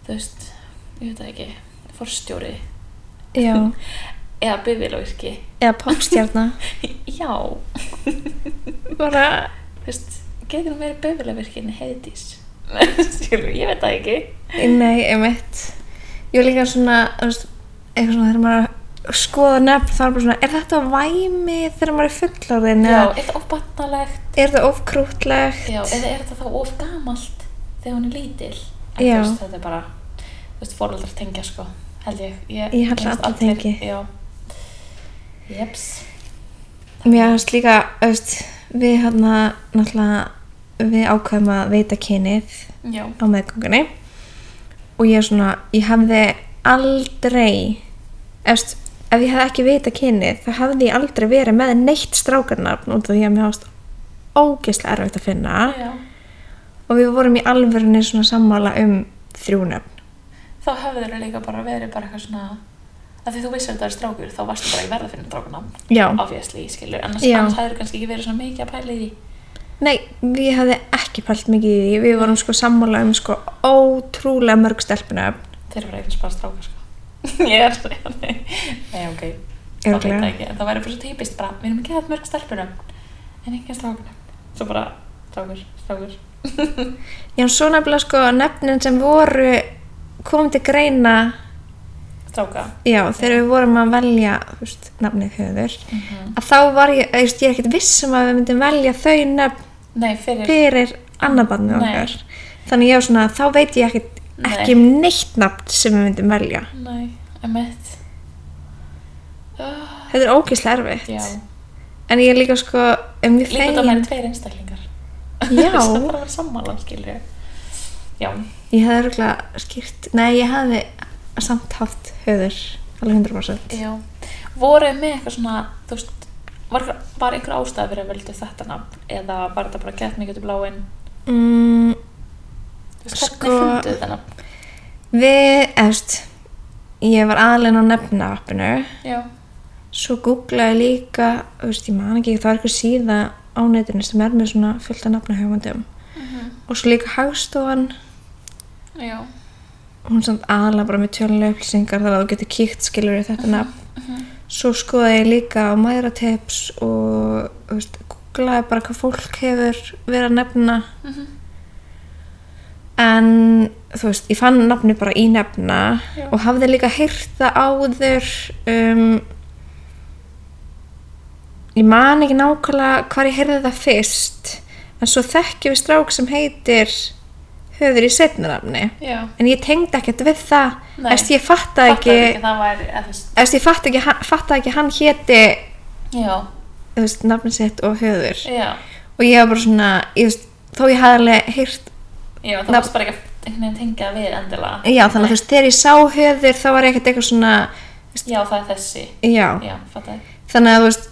B: þú veist, ég veit það ekki forstjóri
A: já,
B: eða bifilóirki
A: eða popstjarna
B: já, þú
A: bara,
B: veist getur hún verið bifilóirkin heiðdís skilur, ég veit það ekki
A: nei, einmitt ég er líka svona þú veist, eitthvað svona þegar maður er að skoða nefn þá er bara svona, er þetta væmi þegar maður er fullorðin
B: já,
A: eða
B: er það óbatnalegt
A: er þetta ofkrútlegt
B: Já, eða er þetta þá of gamalt þegar hún er lítil? En
A: Já.
B: þú Veist, þetta er bara, þú veist, fóröldrar tengja sko, held ég. Ég,
A: Ég held að
B: finnst
A: allir tengi.
B: Já. Jeps.
A: Mér finnst líka, auðvist, við hérna, náttúrulega, við ákveðum að veita kynið
B: Já.
A: á meðgöngunni og ég er svona, ég hefði aldrei, auðvist, ef ég hefði ekki veita kynið, þá hefði ég aldrei verið með neitt strákarnafn út af því að mér hafðist ógeðslega erfitt að finna
B: Já.
A: og við vorum í alvörunni svona sammála um þrjúnöfn.
B: Þá höfður þau líka bara verið bara eitthvað svona, að því þú vissir að þetta er strákur, þá varstu bara í verða að finna strákunam.
A: Já.
B: Obviously, skilur, annars,
A: Já.
B: annars hefur kannski ekki verið svona mikið að pæla í því.
A: Nei, við hefði ekki pælt mikið í því, við vorum sko sammála um sko ótrúlega mörg stelpunöfn
B: Þeir eru bara eitthvað bara strákur, sko. ég er svona, nei, ok. Þá veit
A: Örugglega.
B: það ekki, en það væri bara svo típist bara, við erum ekki að mörg stelpunum, en ekki að strákunum. Svo bara, strákur, strákur.
A: Já, svo nefnilega sko nefnin sem voru kom til greina
B: Stráka.
A: já, þegar við vorum að velja þú veist, nafnið höður
B: Mhm.
A: að þá var ég, eða, þú veist, ég er ekkert vissum að við myndum velja þau nöfn
B: Nei, fyrir,
A: fyrir annað barnið
B: Nei.
A: okkar þannig ég var svona, þá veit ég ekkert
B: Nei.
A: ekki um neitt nafn sem við myndum velja
B: nei, emitt. Oh,
A: þetta er ógeðslega erfitt
B: já,
A: en ég er líka sko um því
B: líka út að
A: fegin
B: væri tveir einstaklingar.
A: já,
B: Svo bara að vera sammála, skilur ég. Já,
A: ég hefði örgulega skýrt nei, ég hefði samt haft höður alveg 100%
B: já. Voruð með eitthvað svona, þú veist, var, var einhver ástæð fyrir að völdu þetta nafn eða var þetta bara gett mikið út í bláinn?
A: mm,
B: Þú veist, Hvernig
A: Sko-
B: sko... funduð þetta nafn?
A: Við, eftir, ég var aðlega á nefna appinu,
B: Já.
A: svo googlaði ég líka, þú veist, ég man ekki, það er eitthvað síða á netinu sem er með svona fullt af nafna hugmyndum. Og svo líka hagstofan,
B: Já,
A: hún er samt aðlega bara með tjölulega upplýsingar þar að þú getur kíkt skilur í þetta nafn. Svo skoðaði ég líka á mæðratips og, þú veist, googlaði bara hvað fólk hefur verið að nefna. en þú veist, ég fann nafni bara í nefna
B: Já.
A: og hafði líka heyrt það áður um, ég man ekki nákvæmlega hvar ég heyrði það fyrst en svo þekki við strák sem heitir höfður í setna nafni
B: já.
A: en ég tengdi ekkert við það
B: Nei.
A: Efst, ég fatta
B: Fattar
A: ekki,
B: ekki að það væri, eða þú veist,
A: Efst, ég fatta ekki, hann- fatta ekki að hann héti
B: já,
A: þú veist, nafni sitt og höfður
B: já,
A: og ég var bara svona ég, veist, þó ég hafði alveg heyrt
B: já, það
A: Nafn-
B: varst bara ekki að einhvern veginn tengja við endilega.
A: Já, þannig að þú veist, þegar ég sá höður þá var ég ekkert eitthvað svona,
B: Já, það er þessi,
A: já,
B: já, fattar ég.
A: þannig að þú veist,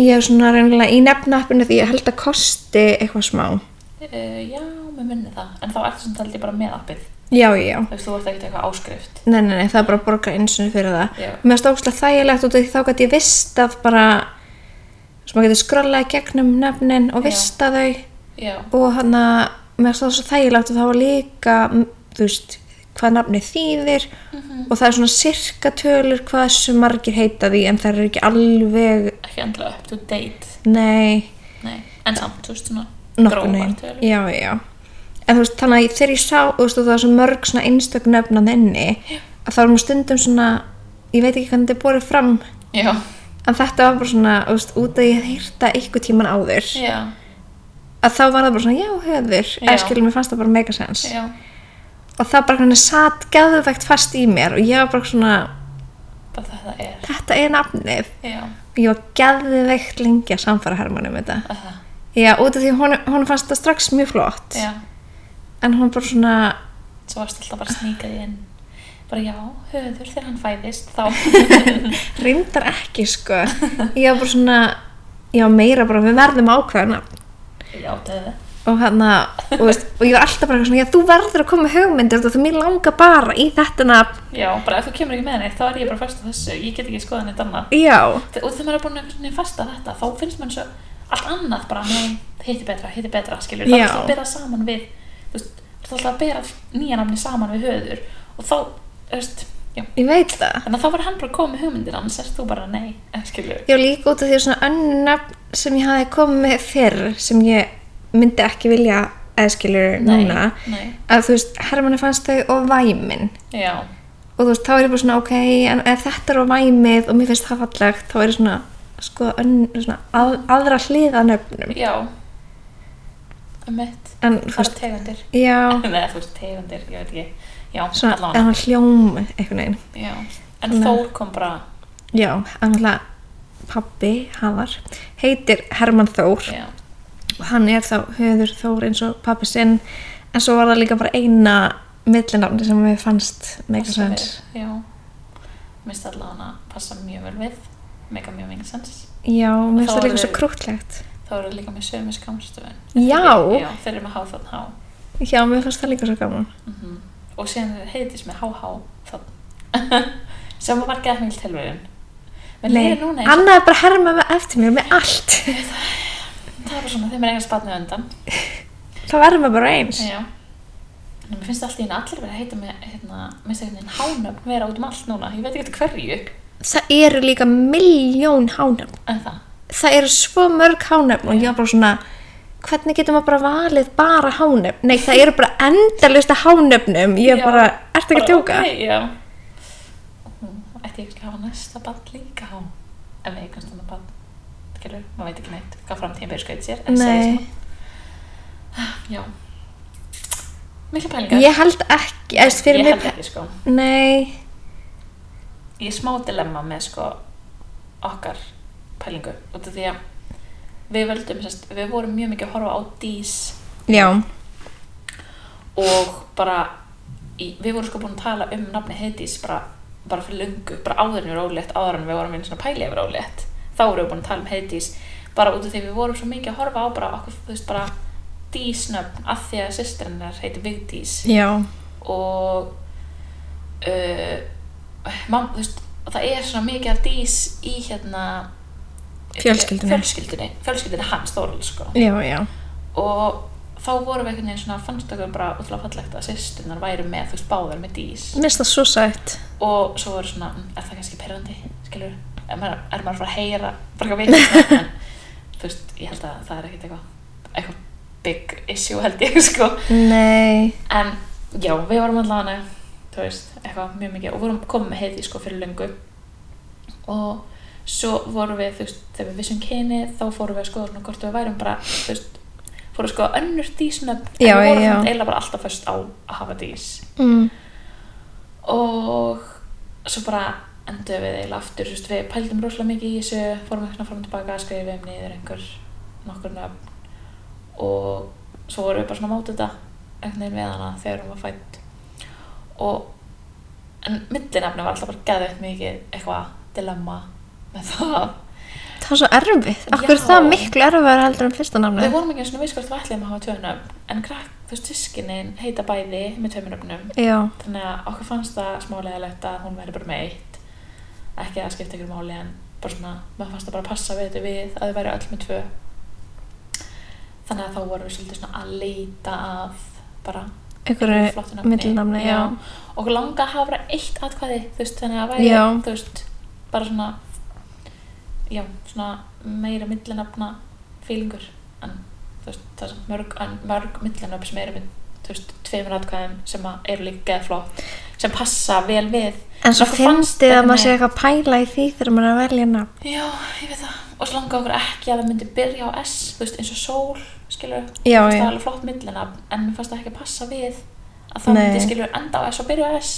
A: ég er svona reynilega í nefnappinu því ég held að kosti eitthvað smá.
B: Uh, já, mér munni það, en þá ertu sem taldi bara með appið,
A: Já, já, já.
B: þú veist, þú ert ekkert eitthvað áskrift.
A: Nei, nei, nei, það er bara að borga einsunni fyrir það.
B: Já.
A: Mér finnst ógslag þægilegt út af því þá gæti ég vist að bara, þú veist, maður getur skrollaði gegnum nefnin og
B: Já.
A: vista þau
B: Já,
A: og hann að mér finnst það svo þægilegt og þá var líka, mm, þú veist, hvað nafnið þýðir
B: Mhm.
A: og það er svona sirkatölur hvað þessu margir heita því en það er ekki alveg
B: ekki endilega up to date,
A: Nei,
B: nei, en samt, þú veist, svona
A: nokkurn veginn.
B: tölur.
A: Já, já. En þú veist, þannig að ég- þegar ég sá, þú veist, og það var svo mörg svona einstök nöfn að þenni, að þá var mjög stundum svona, ég veit ekki hvernig þetta er borðið fram,
B: Já,
A: en þetta var bara svona, þú veist, út að ég hef hýrta ykkur tíman áður,
B: já,
A: að þá var það bara svona, já, höfður,
B: Já.
A: eða skilur, mér fannst það bara megasens.
B: já,
A: Og það bara hvernig satt geðvegt fast í mér og ég var bara svona,
B: bara þetta er,
A: þetta er nafnið.
B: já,
A: Ég var geðvegt lengi að samfara hermanum þetta.
B: það er það,
A: Já, út af því hún, hún fannst það strax mjög flott,
B: já.
A: en hún bara svona,
B: Svo varst alltaf bara sníkað í inn, bara já, höður þegar hann fæðist, þá,
A: reyndar ekki sko ég var bara svona ég var meira bara við verðum ákveðna
B: já, það
A: og hann og, þú veist, og ég var alltaf bara eitthvað svona, já, þú verður að koma með hugmyndir þú veist, þú mér langar bara í þetta nafn
B: Já, bara ef þú kemur ekki með henni, þá er ég bara fast á þessu, ég get ekki skoðað neitt annað.
A: já,
B: Þe- Og þegar maður er búin einhvern veginn fast að þetta, þá finnst mann svo allt annað bara, nei, hitti betra, hitti betra, skilur. Það
A: Já.
B: er alltaf að bera saman við, þú veist, það er alltaf að bera nýja namni saman við höður og þá, þú veist, já.
A: ég veit það
B: Þannig að þá var hann bara að koma með hugmyndir, annars erst þú bara, nei, eh, skilur.
A: já, líka út af því að svona önnur nafn sem ég hafi komið með fyrr sem ég myndi ekki vilja eðskilur núna
B: Nei,
A: að þú veist, Hermanni fannst þau og væmin
B: nei, já,
A: og þú veist, þá er ég bara svona, ok en ef þetta er og væmið og mér finnst það fallegt þá er ég svona, sko, ön, svona að, aðra hliða nöfnum
B: já. Emmett,
A: en þú
B: bara
A: veist,
B: tegundir.
A: já
B: Nei, þú veist, tegundir, ég veit ekki. Já,
A: svona,
B: allavega.
A: en hann hljóm einhvern veginn
B: Já, en
A: Þannig að-
B: Þór kom bara
A: já, en alltaf pabbi, Havar, heitir Herman Þór
B: já,
A: og hann er þá höður Þór eins og pabbi sinn en svo var það líka bara eina millinafni sem mér fannst make
B: passa
A: sense
B: við, já minnst allavega hana passa mjög vel við mega mjög mjög sens
A: já, mér finnst
B: Þá
A: það líka
B: eru-
A: svo krútlegt
B: þá eru líka með sömu skamstöfun
A: já,
B: þeir eru með há þann há
A: já, mér fannst það líka svo gaman
B: mm og síðan er heitis með há há þann sem var gæð mjög tilverjun menn
A: Nei,
B: leiðir núna eins og
A: Anna er bara að herma með eftir mér með allt
B: það er bara svona þeim er eiginlega spatnið undan
A: þá verðum við bara eins
B: já en mér finnst alltaf hérna allir verið að heita með hérna, minnst einhvern veginn hánöfn vera út um allt núna ég veit ekki hverju
A: það eru líka miljón hánöfn
B: en það
A: það eru svo mörg hánöfn og ég var bara svona hvernig getur maður bara valið bara hánöfn nei það eru bara endalista hánöfnum ég er
B: Já,
A: bara, ertu ekki að
B: Bara,
A: djóka?
B: Ok, já. Hún ætti ekki að hafa næsta band líka á. Ef við eignast þannig band. Skilur, maður veit ekki neitt hvað framtíðin byrja skaut sér. En
A: Nei.
B: segist maður. Já. Mikið pælingar.
A: ég held ekki, eða þú veist, fyrir
B: Ég held
A: mig
B: ekki, sko.
A: nei,
B: Ég er smá dilemma með, sko, okkar pælingu. Út af því að við völdum, sest, við vorum mjög mikið að horfa á dís
A: já,
B: og bara í, við vorum sko búin að tala um nafni Heiðdís bara, bara fyrir lungu, bara áður en við vorum ólétt áður en við vorum einu svona pæli yfir ólétt þá vorum við búin að tala um Heiðdís bara út af því við vorum svo mikið að horfa á bara okkur, þú veist, bara dísnöfn af því að systir hennar heiti Vigdís
A: já
B: og uh, mam, þú veist, það er svona mikið af dís í hérna
A: Fjölskyldunni.
B: fjölskyldunni, fjölskyldunni hans Þórull sko
A: já, já,
B: og þá vorum við einhvern veginn svona fannst okkur bara útrúlega fallegt að sýstunar væri með þú veist báðar með dís
A: minnst það svo sætt
B: og svo voru svona, "Mm, er það kannski perrandi skilur, er maður, er maður frá að heyra bara eitthvað veit en þú veist, ég held að það er ekkert eitthvað eitthvað big issue held ég sko
A: nei,
B: en já, við vorum allavega þú veist, eitthvað mjög mikið og vorum komið með heiði sko fyrir löngu og svo vorum við þú veist, þegar við vissum kyni þá fórum við að skoða svona hvort við værum bara þú veist, fórum við að skoða önnur dísnöfn en
A: Já,
B: við vorum
A: já.
B: samt eiginlega bara alltaf först á að hafa dís
A: mm.
B: og svo bara endur við eiginlega aftur þú veist, við pældum rosalega mikið í þessu fórum eitthvað fram og tilbaka, skrifum niður einhver nokkur nöfn og svo vorum við bara svona að máta þetta einhvern veginn við hana þegar hún var fætt og en millinafni var alltaf bara geðveitt mikið eitthvað dilemma með það
A: það er svo erfitt, okkur er
B: Já.
A: það miklu erfiðar heldur en fyrsta namni
B: við vorum ekki svona viss hvort við ætlum að hafa tvö nöfn en krakk, þú veist, tískinin heita bæði með tveimur nöfnum
A: já,
B: þannig að okkur fannst það smálegalegt að hún væri bara með eitt ekki að það skipta ykkur máli en bara svona, maður fannst það bara passa við þetta við að þau væri öll með tvö þannig að þá vorum við svolítið svona að leita að bara flottu
A: einhverju
B: nafni.
A: millinafni, já.
B: okkur langa að hafa bara eitt atkvæði þú veist, þannig að væri,
A: Já.
B: þú veist bara svona já, svona meira millinafna fílingur en þú veist, það er samt mörg, en mörg millinöfn sem eru með, þú veist, tveimur atkvæðum sem að eru líka geða flott sem passa vel við
A: En svo
B: Okkur fannst
A: finnst þið að
B: einhvern
A: maður sé
B: veginn-
A: eitthvað að pæla í því þegar maður er að velja nafn.
B: já, ég veit það, og svo langa okkur ekki að það myndi byrja á S, þú veist, eins og sól skilur,
A: Já,
B: það
A: já.
B: er alveg flott millinafn en mér fannst það ekki passa við að það
A: Nei.
B: myndi skilur enda á S og byrja á S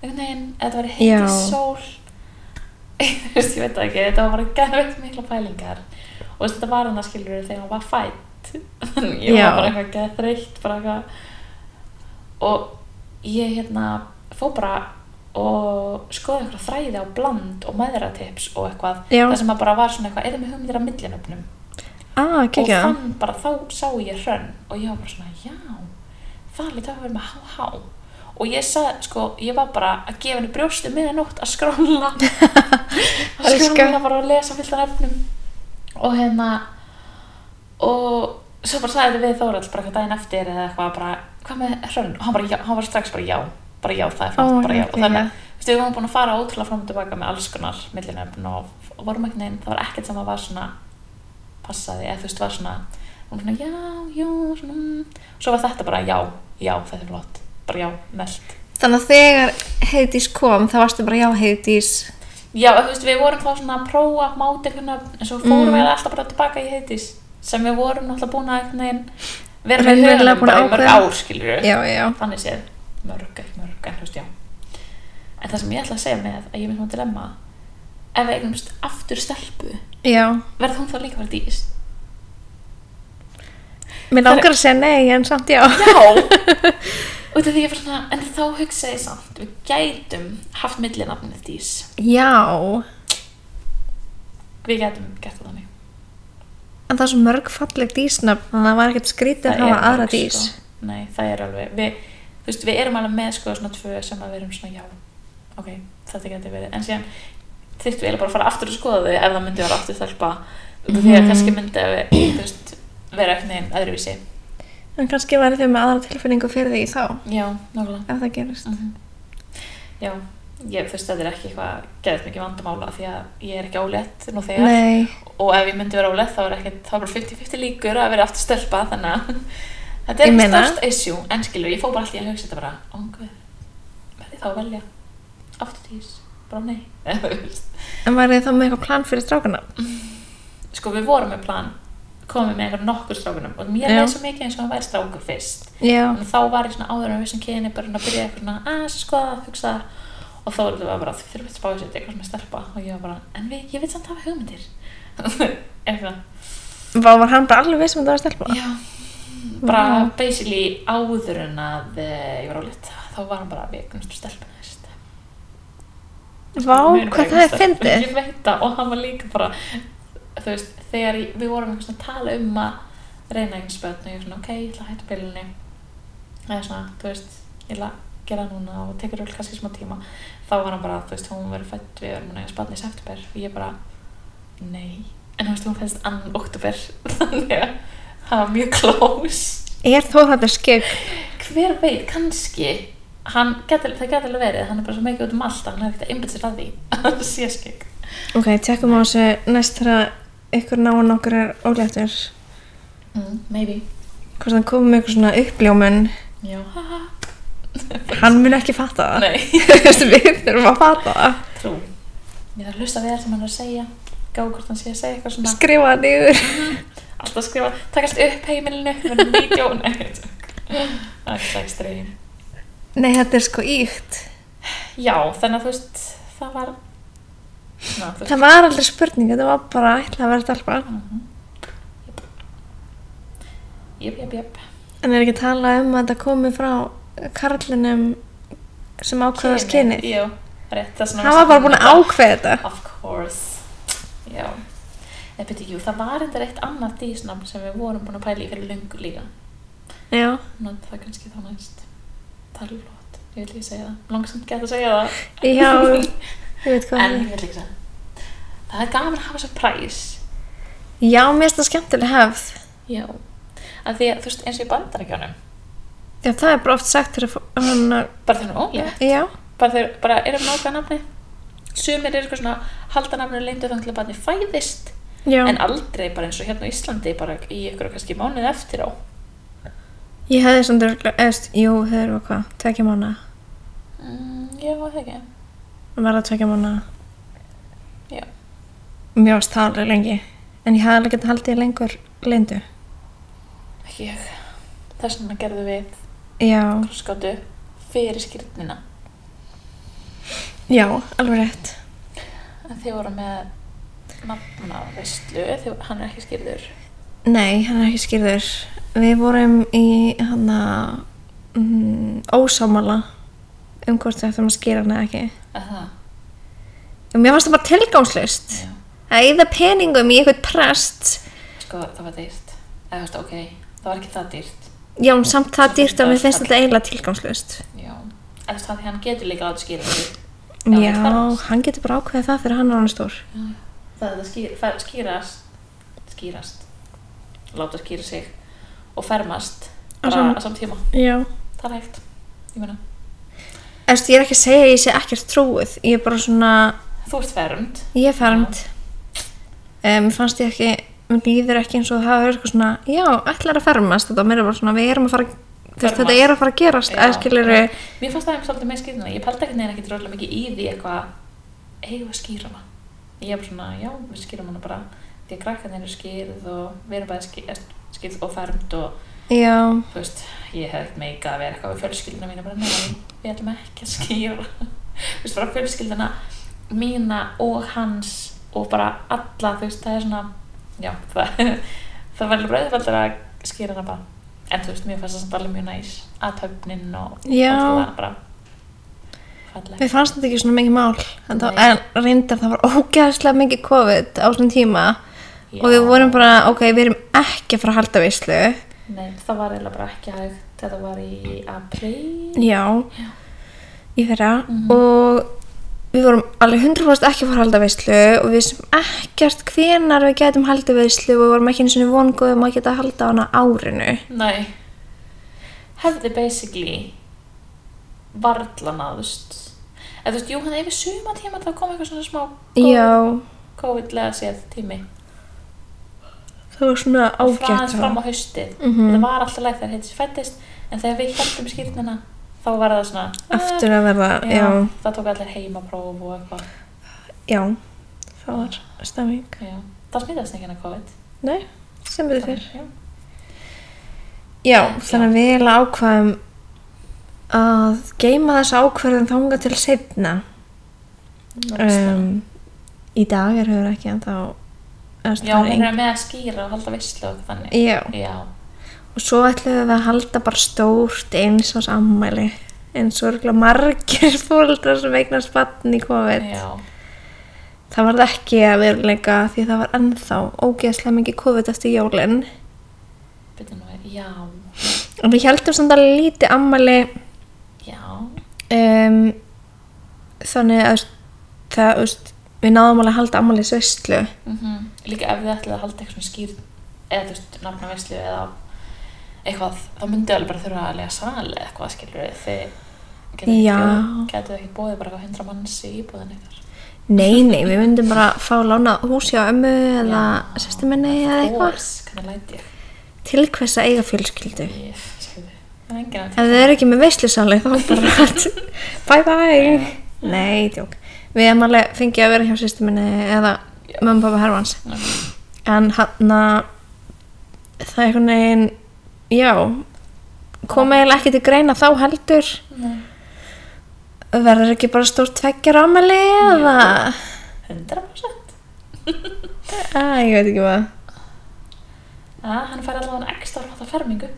B: einhvern veginn, eða það væri
A: Já.
B: heiti sól þú veist, ég veit það ekki þetta var bara gerðveitt mikla pælingar og þú veist, þetta var hann að skilur þegar hún var fætt ég
A: Já.
B: var bara eitthvað geða þreytt bara eitthvað og ég hérna fór bara og skoði eitthvað þræði á bland og maðuratips og eitthvað
A: Já.
B: það sem að bara var svona eitthvað, eða með hugmyndir af millinöfnum
A: Ah,
B: og
A: kekja.
B: fann bara, þá sá ég hrönn og ég var bara svona, já það líka að vera með há-há og ég sagði, sko, ég var bara að gefa henni brjóstu miðan nótt að skróla að
A: Elska.
B: skróla bara að lesa fullt af nefnum og hérna og svo bara sagði þetta við Þórald bara eitthvað daginn eftir eða eitthvað bara, hvað með hrönn og hann, bara, já, hann var strax bara já bara já, það er flott,
A: Ó,
B: bara já
A: ok,
B: og þannig,
A: já.
B: að, þú veist, við varum búin að fara ótrúlega fram og tilbaka með alls konar millinöfn og, og vorum ekki neinn, það var ekkert sem að var svona passaði, eða þú veist, var svona hún var svona, já, já, svona mm. svo var þetta bara, já, já, þetta er flott bara já, meld
A: Þannig að þegar Heiðdís kom, þá varstu bara já Heiðdís.
B: já, þú veist, við vorum þá svona að prófa máti einhvern veginn, en svo
A: Mhm.
B: fórum við alltaf bara tilbaka í heitis, sem við vorum náttúrulega búin að einhvern veginn vera með
A: Raunverulega búin
B: höfum
A: að
B: bara í mörg
A: ákveða.
B: ár, skilur við
A: Já, já.
B: þannig séð, mörg, ekki mörg, en þú veist, já en það sem ég ætla að segja með að ég er með svona dilemma ef við eignumst aftur stelpu
A: Já.
B: verður hún þá líka að vera dís
A: Mér langar að segja nei, en samt já.
B: Já Út af því ég var svona, en þá hugsaði ég samt Við gætum haft millinafnið Dís
A: Já.
B: Við gætum gert það þannig
A: En það er svo mörg falleg dísnafn, þannig að það var ekkert skrítið að
B: er
A: hafa aðra
B: alveg,
A: dís.
B: sko, Nei, það er alveg við, Þú veist, við erum alveg með sko svona tvö sem að við erum svona já Ok, þetta gæti verið En síðan þyrftum við eiginlega bara að fara aftur og skoða þau Ef það myndi vera aftur þelpa Út af því
A: Mhm.
B: að kannski myndi að við, þú veist, vera eitthvað neginn öðruvísi
A: En kannski væri þau með aðra tilfinningu fyrir því þá,
B: Já, nákvæmlega
A: ef það gerist.
B: Mhm. Já, ég, þú veist, þetta er ekki eitthvað Geðið mikið vandamála því að ég er ekki ólétt Nú þegar
A: Nei,
B: og ef ég myndi vera ólega þá er ekki, þá er bara 50-50 líkur að vera aftur stelpa þannig að þetta
A: Ég
B: er ekki
A: meina.
B: størst issue en skilur, ég fór bara alltaf í að hugsa þetta bara ánguð, verði þá að velja aftur dís, bara nei Eða, þú veist.
A: en væri þau þá með eitthvað plan fyrir strákana?
B: sko við vorum með plan komum með einhver nokkur strákunum og mér
A: Já.
B: leði svo mikið eins og hann væri strákur fyrst
A: Já.
B: en þá var ég svona áður en við sem kyni bara að byrja eitthvað svona að skoða, hugsa og þá var þetta bara, þið þurfum að spá þessi þetta er eitthvað sem er stelpa og ég var bara, en við, ég veit samt að hafa hugmyndir eitthvað
A: Vá, var hann bara alveg viss um að það var stelpa?
B: Já, bara
A: Vá.
B: basically áður en að eh, ég var ólétt, þá var hann bara við eignumstu stelpuna þess.
A: Vá, hvað það er fyndið?
B: Ég veit það og hann var líka bara, þú veist, þegar ég- við vorum einhvers veginn að tala um að reyna einhvers börn og ég var svona, ok, ég ætla að hætta bylunni. Eða svona, þú veist, ég ætla að gera það núna og tekur öll kannski smá tíma. Þá var hann bara, þú veist, hún verið fætt, við verðum að eignast barn í september. Ég bara, nei, en þú veist, hún fættist annan oktober, þannig að það var mjög close
A: Er Þórhaldur skegg?
B: hver veit, kannski hann getur, það getur alveg verið, hann er bara svo mikið út um allt að hann er ekkert að einbyrð sér að því að sé skik
A: Ok, tekum á þessu næst þegar ykkur náinn okkur er óléttur.
B: mm, maybe,
A: Hvort hann komið með eitthvað svona uppljómun,
B: já ha, ha.
A: hann mun ekki fatta það.
B: nei,
A: Nei. Við þurfum að fatta það.
B: trú ég þarf að hlusta við það sem hann er að segja gá hvort hann sé að segja eitthvað svona
A: Skrifa það niður.
B: alltaf skrifa, takast upp heimilinu verðum vídeo, nei það er ekki stregin
A: Nei, þetta er sko íkt.
B: já, þannig að þú veist, það var Ná, þú veist, Mhm.
A: Það var aldrei spurning, þetta var bara ætla að vera stelpa.
B: jöp, jöp, jöp
A: En er ekki að tala um að þetta komi frá karlinum sem ákvæðast kynið?
B: Jú, rétt, það er svona-
A: Hann var bara búin að ákveða þetta.
B: Of course Já Eða byrju, jú, það var eitthvað eitt annað dísnafn sem við vorum búin að pæla í fyrir löngu líka
A: Já.
B: Nótt það kannski þá næst Það er alveg flott, ég vil ekki segja það Langsamt geta að segja það
A: Já, ég veit hvað
B: En
A: það
B: ég
A: er.
B: vil ekki segja það. Það er gaman að hafa svo præs
A: Já, mér finnst það skemmtileg hefð.
B: Já Af því að þú veist eins og í bandarækjónum
A: Já, það er bara oft sagt þegar fó- hann að...
B: Bara þegar hún er ólega
A: Já.
B: Bara þegar bara erum nákvæða nafni Sumir eru eitthvað svona halda nafninu leyndu þannig til að barni fæðist
A: Já.
B: En aldrei bara eins og hérna á Íslandi bara í ykkur kannski mánuð eftir á
A: Ég hefði svona, örugglega- eða, þú veist, jú, þau eru hvað, tvekja mánu.
B: mm, Já, það ekki
A: Verða tvekja mánu.
B: Já.
A: Mér varst það alveg lengi. En ég hefði alveg getað haldið í lengur lindu.
B: ekki ég þess vegna gerðum við
A: Já.
B: krossgátu fyrir skýrnina
A: Já, alveg rétt.
B: en þið voru með nafnaveislu, þið, hann er ekki skýrður
A: Nei, hann er ekki skýrður. Við vorum í hann að mm, ósámála um hvort við ættum að skýra hann eða ekki.
B: að það,
A: Og mér fannst það bara tilgangslust.
B: já
A: Að eyða peningum í eitthvað prest
B: sko, það var dýrt. Eða, þú veist, ok, það var ekki það dýrt.
A: Já, en samt það dýrt að mér finnst
B: Það er
A: þetta eiginlega tilgangslust.
B: Já. En þú veist, hann- hann getur líka látið skýra því. Já,
A: Já,
B: það er-
A: hann getur bara ákveðið það fyrir hann er hann stór.
B: Það er að skýr, fer, skýrast, skýrast, láta skýra sig og fermast
A: Á
B: bara
A: sama-
B: á samt tíma.
A: Já.
B: Það er hægt. Ég meina,
A: Erst, ég er ekki að segja að ég sé ekkert trúið. Ég er bara svona,
B: þú ert fermd.
A: ég er fermt. Mér fannst ég ekki, mér líður ekki eins og það hafa verið eitthvað svona, já, ætlar að fermast. Þetta mér er bara svona, við erum að fara, þú veist, þetta
B: Fermast.
A: er að fara að gerast,
B: Já.
A: eða skilur við,
B: Mér fannst það einhvers svolítið með skýrna. Ég pældi ekkert neina ekkert rólega mikið í því eitthvað, eigum við að skýra hana? Ég er bara svona, já, við skýrum hana bara. Því að krakkarnir eru skýrð og við erum bæði skýrð, skýrð og fermd og,
A: já,
B: þú veist, ég hef ekkert meikað að vera eitthvað við fjölskyldina mína. Bara, nei, við ætlum ekki að skýra. þú veist, bara fjölskyldina mína og hans og bara alla, þú veist, það er svona, já, það, það var alveg bröðfaldur að skýra hana bara. En þú veist, mér fannst það samt alveg mjög næs að höfnin og
A: Já.
B: allt það bara fallegt.
A: mér fannst þetta ekki svona mikið mál. En, þá,
B: Nei.
A: en reyndar það var ógeðslega mikið COVID á svona tíma
B: Já.
A: og við vorum bara, ok, við erum ekki að fara að halda veislu.
B: Nei, það var eiginlega bara ekki hægt, þetta var í apríl.
A: Já, í fyrra og við vorum alveg 100% ekki að fara að halda veislu og við vissum ekkert hvenar við getum haldið veislu og við vorum ekki eins og vongóðum um að geta að halda hana á árinu.
B: Nei. Hefði basically varla náðust. Eða þú veist, jú, hann yfir suma tíma það kom eitthvað svona smá
A: Já,
B: COVID-lega séð tími.
A: það var svona
B: Og frá-
A: ágætt
B: aðeins fram
A: þá.
B: á haustið.
A: Mhm.
B: Það var alltaf leið þegar heitis fættist, en þegar við hjæltum skýrnina, þá var það svona...
A: Aftur að verða,
B: eh,
A: já,
B: Það tók allir heimapróf og eitthvað.
A: já, það var stemming.
B: Já. Það smitaðist ekki hennar COVID.
A: Nei, sem betur fyrr.
B: Já.
A: Já,
B: Já.
A: þannig að við eiginlega ákvaðum að geima þessa ákvarðin þanga til setna.
B: Um,
A: Um, í dag er hefur ekki en þá...
B: já, hún er með að skýra og halda veislu og þannig.
A: Já,
B: Já,
A: og svo ætlum við að halda bara stórt eins og sammæli eins og örgulega margir fóldrar sem eignast bann í COVID
B: já,
A: það varð ekki að veruleika því það var ennþá ógeðslega mikið COVID eftir jólin
B: byrja nú við, já,
A: og við heldum samt alveg lítið ammæli
B: já,
A: um, þannig að það, þú veist, við náðum alveg að halda ammæli sveistlu
B: mm líka ef þið ætlið að halda eitthvað svona skýr, eða þú veist, nafnaveislu eða eitthvað, þá myndi alveg bara þurfa að lega sali eða eitthvað, skilur við, þið getið
A: Já.
B: ekki, getið ekki bóðið bara eitthvað hundra manns í íbúðin ykkar.
A: nei, nei, við myndum bara fá lánað húsi á ömmu eða
B: Já.
A: sérstuminni eða
B: Of
A: eitthvað
B: course, Hvernig læti ég?
A: til hvers að eiga fjölskyldu
B: Ég, skilur við, það er enginn að
A: Ef þið eru ekki með veislusali þá bara hætt. bye bye. Nei, tjók. Við hefum alveg fengið að vera hjá sýstu minni eða mömmu og pappa herfans. En hann að það er einhvern veginn, já, kom eiginlega ekki til greina þá heldur.
B: Nei.
A: Verður ekki bara stórt tveggjar ámæli eða,
B: Hundra prosent.
A: Æ, ég veit ekki hvað.
B: Já, Ah, hann fær allavega ekstra rátt að fermingu.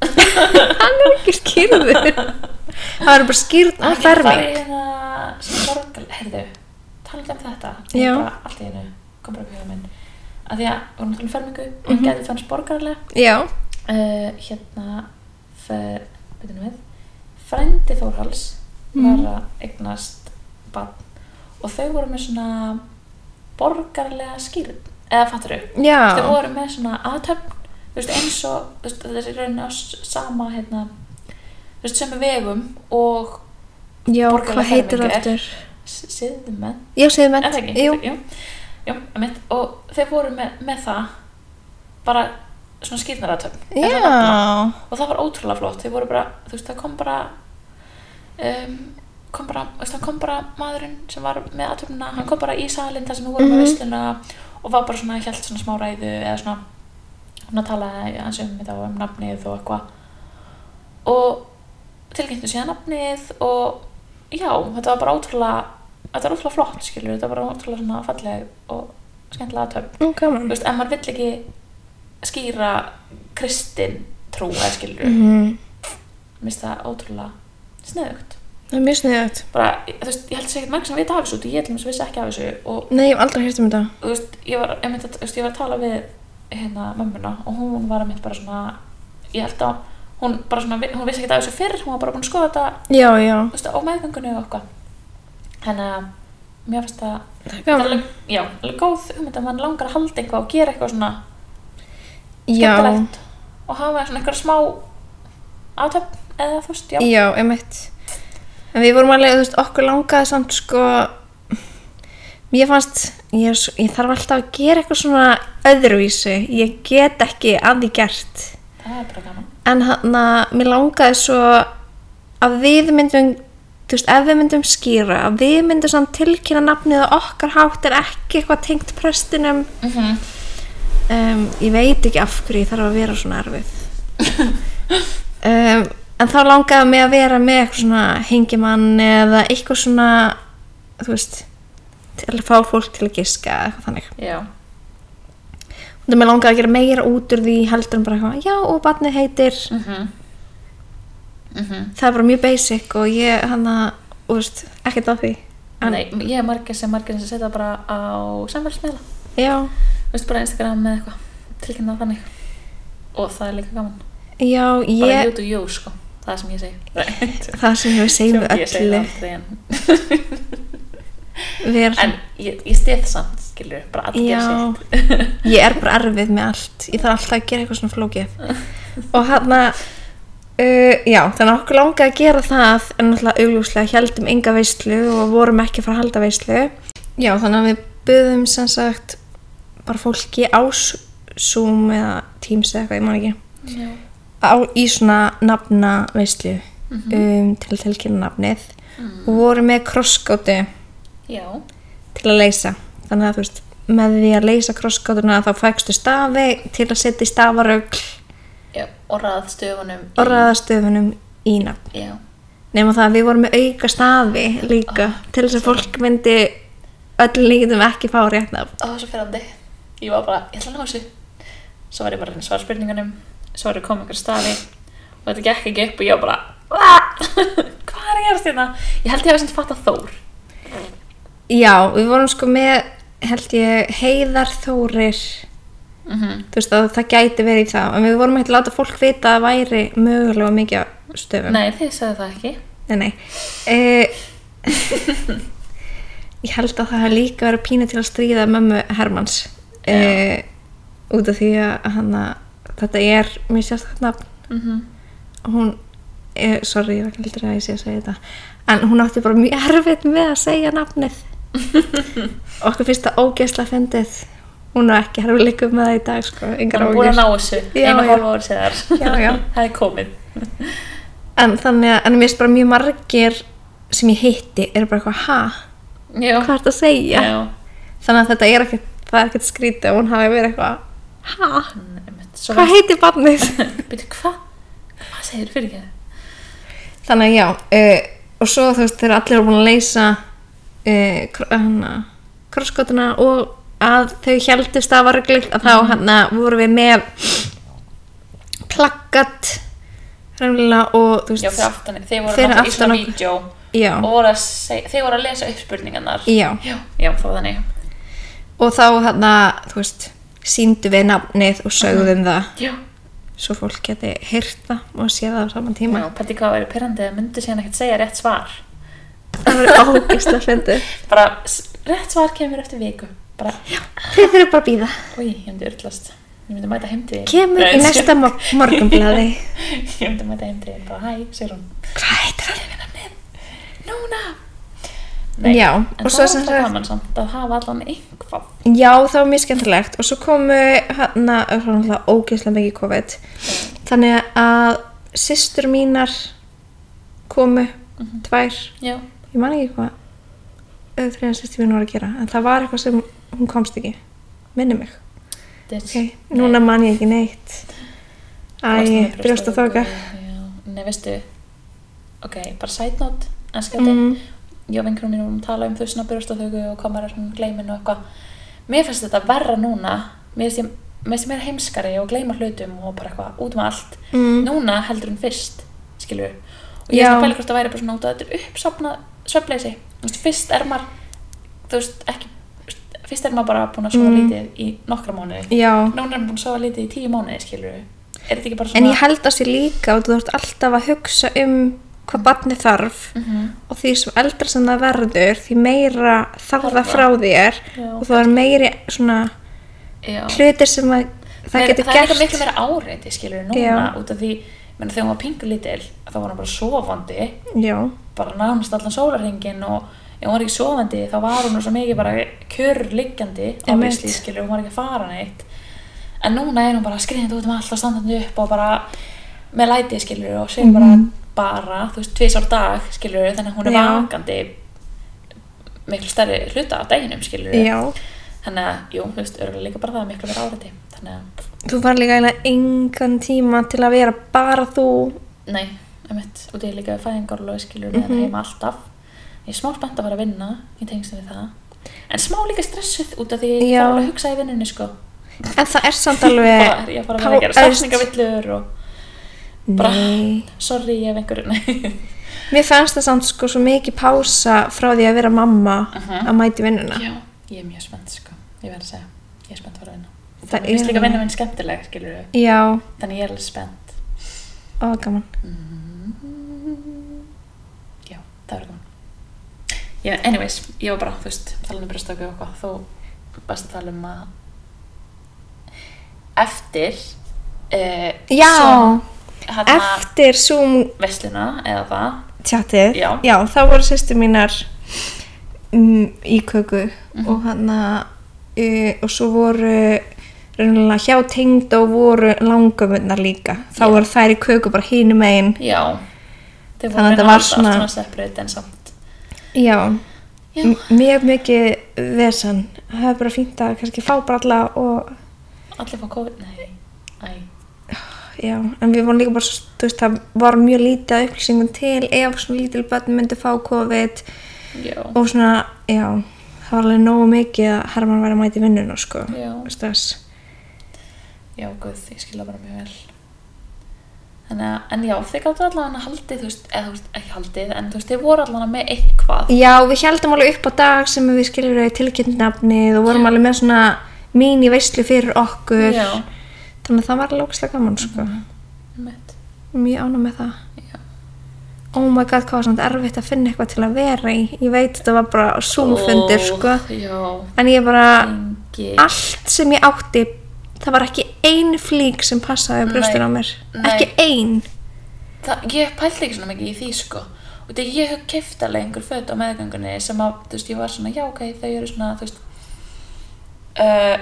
A: Hann er ekki skýrður. Það er bara skýrð að
B: Hann
A: ferming.
B: er bara sem sorgal, heyrðu, talað um þetta.
A: Já.
B: Ég bara allt í hennu, kom bara upp í huga minn. Af því að við vorum að tala um fermingu,
A: Mhm.
B: hann mm -hmm. gæti fannst borgarlega.
A: Já,
B: Uh, hérna, fer, byrjunum við, frendi Þórhals
A: Mhm.
B: var að eignast barn og þau voru með svona borgarlega skýrn, eða fattur upp. Þau
A: já,
B: voru með svona aðtöfn, þú veist, eins og, þú veist, þetta er í rauninni á s- sama, hérna, þú veist, sömu vegum og
A: já,
B: borgaraleg
A: hvað heitir
B: ferming er-
A: aftur?
B: siðmenn
A: Já, segðu
B: er það
A: með,
B: ekki?
A: jú.
B: Jú, jú mitt, og þeir voru með, með það bara svona skýrnaratöfn
A: Já,
B: og það var ótrúlega flott þeir voru bara, þú veist, það kom bara um, kom bara, þú veist, það kom bara maðurinn sem var með atöfnuna hann kom bara í salin þar sem við vorum
A: Mhm.
B: með veisluna og var bara svona, hjælt svona smá ræðu eða svona, hann að tala hans um þetta og um nafnið og eitthvað og tilkynntu síðan nafnið og já, þetta var bara ótrúlega þetta var ótrúlega flott, skilur, þetta var bara ótrúlega svona falleg og skemmtilega atöfn
A: mm, gaman.
B: þú veist, en maður vill ekki skýra kristin trú eða skilur, mm.
A: Mhm.
B: minnst það ótrúlega sniðugt.
A: Það er mjög sniðið.
B: Bara, þú veist, ég held sér ekkert margir sem vita af þessu, því ég til dæmis vissi ekki af þessu og
A: Nei, ég hef aldrei hérst um þetta.
B: þú veist, ég var, einmitt, að- þú veist, ég var að tala við hérna mömmuna og hún var að mitt bara svona ég held að hún bara svona hún vissi ekki að þessu fyrr, hún var bara búin að skoða þetta
A: já, já,
B: þú veist, á meðgöngunni og eitthvað þannig að mér finnst það þetta er
A: gaman.
B: alveg, já, alveg góð hugmynd að mann langar að halda eitthvað og gera eitthvað svona
A: já,
B: skemmtilegt og hafa svona einhverja smá átöfn eða þú veist, já,
A: já, emitt en við vorum alveg, þú veist, okkur langaði samt sko mér fannst, ég, er svo- ég þarf alltaf að gera eitthvað svona öðruvísu ég get ekki að því gert
B: það er bara gaman
A: en hann að mér langaði svo að við myndum þú veist, ef við myndum skýra að við myndum samt tilkynna nafnið að okkar hátt er ekki eitthvað tengt prestinum
B: mm -hmm.
A: um, ég veit ekki af hverju ég þarf að vera svona erfið um, en þá langaði mig að vera með eitthvað svona hengimann eða eitthvað svona þú veist til að fá fólk til að giska eða eitthvað þannig
B: já,
A: þannig að mér langaði að gera meira út úr því heldur en bara eitthvað, já og barnið heitir
B: mm -hmm. Mhm.
A: það er bara mjög basic og ég hann að, þú veist, ekkert að því en,
B: Nei, ég er margir sem margir sem setja bara á samfélagsmiðla
A: já,
B: Þú veist, bara Instagram eða eitthvað tilkynna það þannig og það er líka gaman
A: já,
B: bara
A: ég
B: YouTube, jú, sko, það er sem ég segi
A: það sem við segjum
B: Sem ég segi það
A: öllu
B: aldrei en,
A: við
B: en
A: erum,
B: ég, ég stið samt, skilur bara allir
A: já
B: sér
A: ég er bara erfið með allt ég þarf alltaf að gera eitthvað svona flókið og hann að uh, já, þannig að okkur langaði að gera það en náttúrulega augljóslega heldum enga veislu og vorum ekki að fara að halda veislu já, þannig að við buðum sem sagt bara fólki á Zoom eða Teams eða eitthvað, ég man ekki
B: Já.
A: á, í svona nafna veislu um, til að tilkynna nafnið og voru með krossgátu
B: já,
A: til að leysa þannig að þú veist, með því að leysa krossgátuna þá fækstu stafi til að setja í stafarögl
B: já, og raðstöfunum í-
A: og ræðastöfunum í nafn
B: já,
A: nema það að við vorum með auka stafi líka til þess að fólk myndi öll líktum ekki fá rétt nafn
B: það var svo fyrrandi ég var bara, ég ætla að ná þessu svo var ég bara að reyna að svara spurningunum svo var ég komið ykkur stafi og þetta gekk ekki upp og ég var bara "Ah, hvað er að gerast hérna? ég held ég hefði sem fatt að Þór
A: já, við vorum sko með held ég heiðar þórir
B: mm -hmm.
A: þú veist að það gæti verið í það en við vorum ekki að láta fólk vita að væri mögulega mikið af stöfum
B: nei, þið sagði það ekki
A: nei, nei. Uh, ég held að það hafi líka verið pínu til að stríða mömmu Hermanns uh, út af því að hana, þetta er mjög sérstætt nafn
B: mm -hmm.
A: og hún eh, sorry, ég var ekki heldur að ég sé að segja þetta en hún átti bara mjög erfitt með að segja nafnið okkur finnst það ógeðslega fyndið hún á ekki herfileikum með það í dag sko, engar
B: hann var búin
A: ágjur
B: að ná þessu
A: Já,
B: einu
A: já.
B: hálfa ári séðar
A: Já, já.
B: það er komið
A: En þannig að, en mér finnst bara mjög margir sem ég hitti eru bara eitthvað, ha,
B: já,
A: hvað ertu að segja?
B: já.
A: Þannig að þetta er ekkert, það er ekkert skrítið að hún hafi verið eitthvað, ha,
B: Nei, einmitt. Svo
A: hvað heitir barnið?
B: varst- Bíddu, hvað hvað segir fyrir ekki
A: þannig að já, uh, og svo þú veist, þegar allir eru búin að leysa uh, hana, krosskotuna og að þau heldur stafareglilt að
B: Mhm.
A: þá hann voru við með plakkat, hreinlega og þú veist,
B: já, fyrir aftan, þið voru
A: Fyrir
B: náttúrulega í
A: aftan
B: svona
A: okkur.
B: vídeo
A: já,
B: og voru að seg- þið voru að lesa upp spurningarnar
A: já.
B: já, já, það var þannig
A: og þá hann þú veist, síndu við nafnið og sögðum það
B: já
A: svo fólk geti heyrt það og séð það á saman tíma
B: Já, pæti hvað væri pyrrandi að myndu síðan ekkert segja rétt svar
A: það verður ógist að fyndi
B: bara s- rétt svar kemur eftir viku bara,
A: þið þurfum bara að býða
B: oi, ég myndi urtlast ég myndi mæta heim til þín
A: kemur
B: Nei,
A: í næsta mo- morgunblaði
B: ég myndi mæta heim til þín, bara hæ, segir hún
A: hvað heitir það?
B: núna
A: Já,
B: en
A: og
B: það
A: svo
B: var
A: sem
B: alltaf
A: sagt-
B: gaman samt að hafa allan einhvað
A: já, það var mjög skemmtilegt og svo komu hann að ógæslega mikið COVID þannig að systur mínar komu tvær,
B: já,
A: ég man ekki hvað þriðan systur mín voru að gera en það var eitthvað sem hún komst ekki minni mig
B: þess
A: Ok, núna man ég ekki neitt. Æ, brjóst að þoka.
B: nei, veistu ok, bara side note en skjátti
A: Mm,
B: ég og vinkunum mínum vorum að tala um þau svona brjóstaþöku og hvað maður er svona gleimin og eitthvað mér finnst þetta verra núna mér finnst ég, mér finnst ég meira heimskari og gleima hlutum og bara eitthvað út um allt
A: Mm.
B: núna heldur hún fyrst, skilur við og ég
A: Já.
B: er svona að pæla hvort það væri bara svona út að þetta er uppsapna svefleysi, þú veist, fyrst er maður þú veist, ekki þú veist, fyrst er maður bara búin að sofa
A: Mm.
B: lítið í nokkra mánuði
A: Já,
B: núna er maður búin að sofa lítið í tíu mánuði skilur er þetta ekki bara
A: en
B: svona
A: ég held að sé líka og þú ert alltaf að hugsa um hvað barni þarf
B: Mhm.
A: og því sem eldra sem það verður því meira þarf það
B: Þarfa.
A: frá þér
B: Já.
A: og þá er meiri svona
B: Já.
A: hlutir sem að það
B: Meira-
A: getur
B: það er
A: gert
B: líka miklu meira áreiti skilur núna
A: Já.
B: út af því menn, þegar hún var pingu lítil þá var hún bara sofandi
A: já,
B: bara nánast allan sólarhingin og ef hún var ekki sofandi þá var hún svo mikið bara kjör liggjandi
A: Einmitt.
B: obviously, skilur, hún var ekki að fara neitt en núna er hún bara skriðandi út um allt og standandi upp og bara með læti skilur og segir
A: Mhm.
B: bara bara, þú veist, tvisar dag skilur þannig að hún er
A: Já.
B: vakandi miklu stærri hluta á daginum skilur
A: já
B: þannig að, jú, þú veist, örgulega líka bara það er miklu verið áreiti þannig að,
A: þú var líka eiginlega engan tíma til að vera bara þú
B: nei, emitt og það er líka fæðingarlóð skilur með mm
A: Mhm.
B: heima alltaf ég er smá spennt að vera að vinna í tengstu við það en smá líka stressuð út af því ég
A: Já.
B: þarf alveg að hugsa í vinnunni sko
A: en það er samt
B: bara er
A: alveg
B: ég að fara að
A: Pá-
B: vera að gera
A: eðst-
B: stafningavillur og bara-
A: nei
B: sorry ég hef einhverju nei,
A: mér fannst það samt sko svo mikið pása frá því að vera mamma
B: Mhm.
A: að mæti vinnuna
B: já, ég er mjög spennt sko ég verð að segja, ég er spennt að fara að vinna
A: Það
B: það er
A: er-
B: líka vinna minn skemmtileg skilur
A: já,
B: þannig ég er alveg spennt
A: og gaman
B: já, það verður gaman já, anyways, ég var bara, þú veist talað um brjóstöku og eitthvað þú varst að tala um að eftir uh,
A: já,
B: hann að
A: eftir Zoom
B: vesluna eða það
A: tjatið
B: Já.
A: þá voru sýstu mínar um, í köku
B: Mhm.
A: og hann að uh, og svo voru raunlega hjá tengd og voru langöfunnar líka þá
B: Já.
A: voru þær í köku bara hínum einn
B: já Þau voru
A: Þannig að
B: að
A: þetta var
B: halda allt
A: svona-
B: separate en samt
A: já,
B: Já.
A: M- mjög mikið vesan það er bara fínt að kannski fá bara alla og
B: allir fá COVID, nei Æ.
A: já, en við vorum líka bara svo- þú veist, það var mjög lítið af upplýsingum til ef svona lítil börn myndi fá COVID
B: já,
A: og svona, já það var alveg nógu mikið að Herman væri að mæti vinnuna sko,
B: Já.
A: stress
B: já, guð, ég skilja bara mjög vel þannig að, en já, þið gáttu allavega haldið, þú veist, eða þú veist, ekki haldið en þú veist, þið voru allavega með eitthvað
A: Já, við heldum alveg upp á dag sem við skiljum við tilkynntnafnið og vorum alveg með svona mín í veislu fyrir okkur
B: Já.
A: þannig að það var alveg ógislega gaman sko.
B: Einmitt.
A: mjög ánum með það
B: Já.
A: Oh my god, hvað var samt erfitt að finna eitthvað til að vera í ég veit þetta var bara súmfundir
B: Ó,
A: sko.
B: já,
A: en ég bara,
B: engi
A: allt sem ég átti það var ekki ein flík sem passaði að brjóstur á
B: Nei,
A: mér
B: nei.
A: ekki ein
B: það, ég pældi ekki svona mikið í því sko og þegar ég hef keft alveg einhver föt á meðgöngunni sem að, þú veist, ég var svona já, ok, þau eru svona, þú veist uh,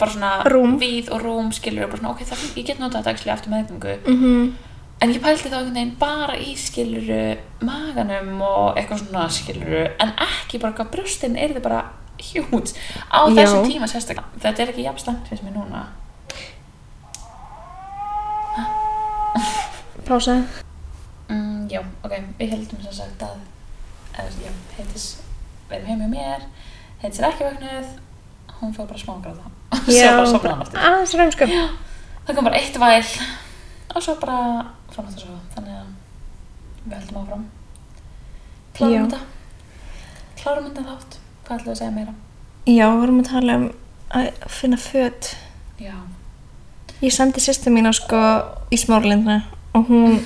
B: bara svona
A: Rúm.
B: víð og rúm, skilur, bara svona ok, það, ég get notað þetta ekki eftir meðgöngu
A: mm -hmm.
B: en ég pældi þá einhvern veginn bara í skiluru maganum og eitthvað svona skiluru en ekki bara hvað brjóstin er þið bara hjút á
A: Já.
B: þessum tíma sérstaklega þetta er ekki jafn slæmt fyrir sem ég núna
A: Pása
B: Mm, já, ok, við heldum sem sagt að eða, já, heitis verðum heim með mér heitis er ekki vögnuð hún fór bara smá að gráta svo bara sopnaði hann aftur
A: aðeins römsku
B: já, það kom bara eitt væl og svo bara fram aftur svo þannig að við heldum áfram
A: Já.
B: klárum þetta klárum þetta þátt hvað ætlum við að segja meira
A: Já, við vorum að tala um að finna föt.
B: já,
A: Ég sendi sýstu mína sko í smárlindna og hún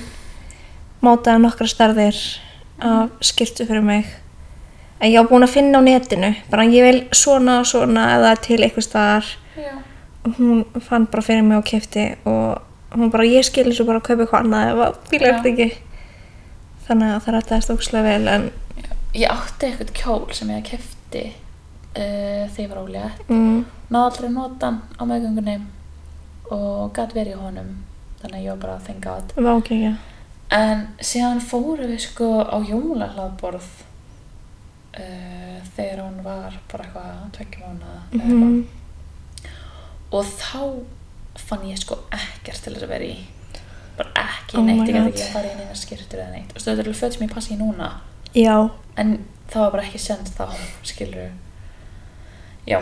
A: mátaði nokkra starðir af skiltu fyrir mig. En ég var búin að finna á netinu, bara ég vil svona og svona eða til eitthvað staðar.
B: já,
A: Og hún fann bara fyrir mig og kefti og hún bara, ég skil þessu bara að kaupa eitthvað annað eða bíla
B: Já.
A: eftir ekki. Þannig að það rættaðist ókslega vel en
B: já ég átti eitthvað kjól sem ég kefti uh, þegar ég var ólega
A: mm,
B: náði aldrei að nota hann á meðgöngunni og gæti verið í honum þannig að ég var bara að þenga að
A: var ekki ekki.
B: en síðan fórum við sko á jólahlaðborð uh, þegar hún var bara eitthvað tveggjum mánuða eða
A: Mm -hmm.
B: eitthvað. og þá fann ég sko ekkert til þess að vera í bara ekki
A: Oh my
B: neitt, ég
A: God.
B: gæti ekki að fara í neina skýrtur eða neitt og stöður alveg föt sem ég passi í núna
A: Já,
B: en það var bara ekki send þá skilur já,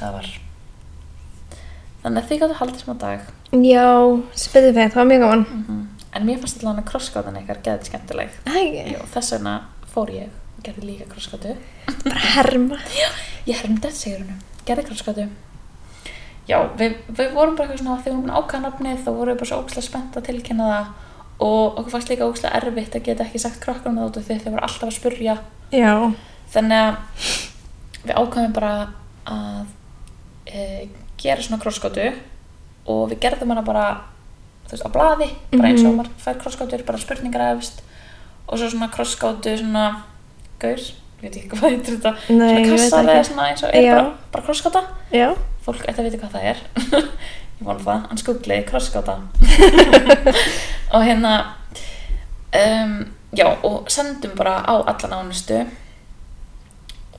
B: það var þannig að þið gáttu haldið smá dag
A: já, spyrir fyrir, það var mjög gaman.
B: Mhm. en mér fannst allan að krosskátan ykkar geðið skemmtileg
A: Æ,
B: já, þess vegna fór ég og gerði líka krosskátu
A: bara herma
B: ég um hermdi eftir sigurunum, gerði krosskatu já, við, við vorum bara eitthvað svona þegar við vorum búin að ákvæða nafnið þá vorum við bara svo ókslega spennt að tilkynna það og okkur fannst líka ókslega erfitt að geta ekki sagt krakkanum það út af því að þau voru alltaf að spurja
A: Já,
B: þannig að við ákvæðum bara að e, gera svona krosskótu og við gerðum hana bara þú veist, á blaði, bara eins og
A: Mhm.
B: maður fær krosskótur, bara spurningar efst og svo svona krosskótu svona gaur, ég veit ekki hvað heitir þetta
A: Nei, ég veit
B: svona kassar
A: ekki.
B: eða svona eins og er
A: Já.
B: bara, bara krosskóta
A: já.
B: fólk ætti að vita hvað það er ég vona það, hann skuggliði krosskáta og hérna um, já, og sendum bara á alla nánustu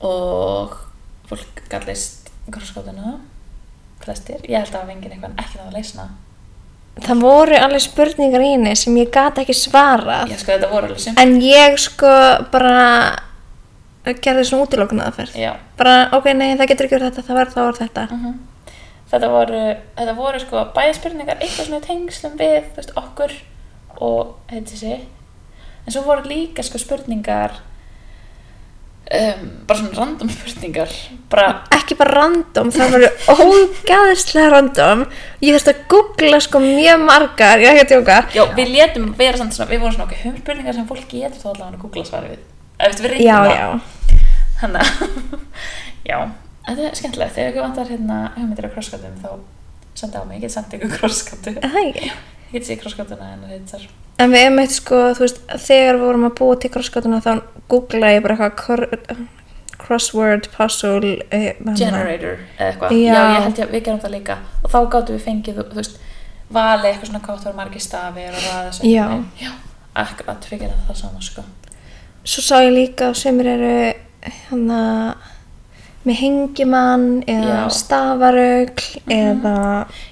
B: og fólk gallist krosskátuna flestir, ég held að hafa enginn eitthvað ekki náða að leysa hana.
A: Það voru alveg spurningar í henni sem ég gat ekki svarað.
B: ég sko þetta voru alveg sem
A: En ég sko bara gerði svona útilóknaðaferð.
B: já,
A: Bara, ok, nei, það getur ekki verið þetta, það var þá var þetta.
B: mhm Þetta voru, þetta voru sko bæði spurningar eitthvað svona í tengslum við þú veist, okkur og heiti sig en svo voru líka sko spurningar um, bara svona random spurningar bara,
A: Ekki bara random, það voru ógæðislega random. Ég þurfti að googla sko mjög margar, ég er ekki að tjóka.
B: já, við letum vera samt svona, við vorum svona okkur höfum spurningar sem fólk getur þá allavega að googla svari við eða veist, við
A: Já,
B: reyndum
A: já.
B: Hanna, já, þetta er skemmtilegt þegar ykkur vantar hérna hugmyndir á krosskatum þá senda á mig, ég get senda ykkur krosskatu
A: Er Það ekki.
B: ég get séð krosskatuna en þetta er
A: En við einmitt sko, þú veist, þegar við vorum að búa til krosskotuna þá googlaði ég bara eitthvað kor- crossword puzzle eh, hérna.
B: generator eða eitthvað
A: Já.
B: já. ég held ég að við gerum það líka og þá gáttum við fengið, þú veist, valið eitthvað svona hvað það voru margir stafir og raða þessu
A: Já.
B: já, akkurat, við gerum það sama sko
A: Svo sá ég líka að semur eru hana, með hengimann eða
B: Já. Mhm.
A: stafarögl eða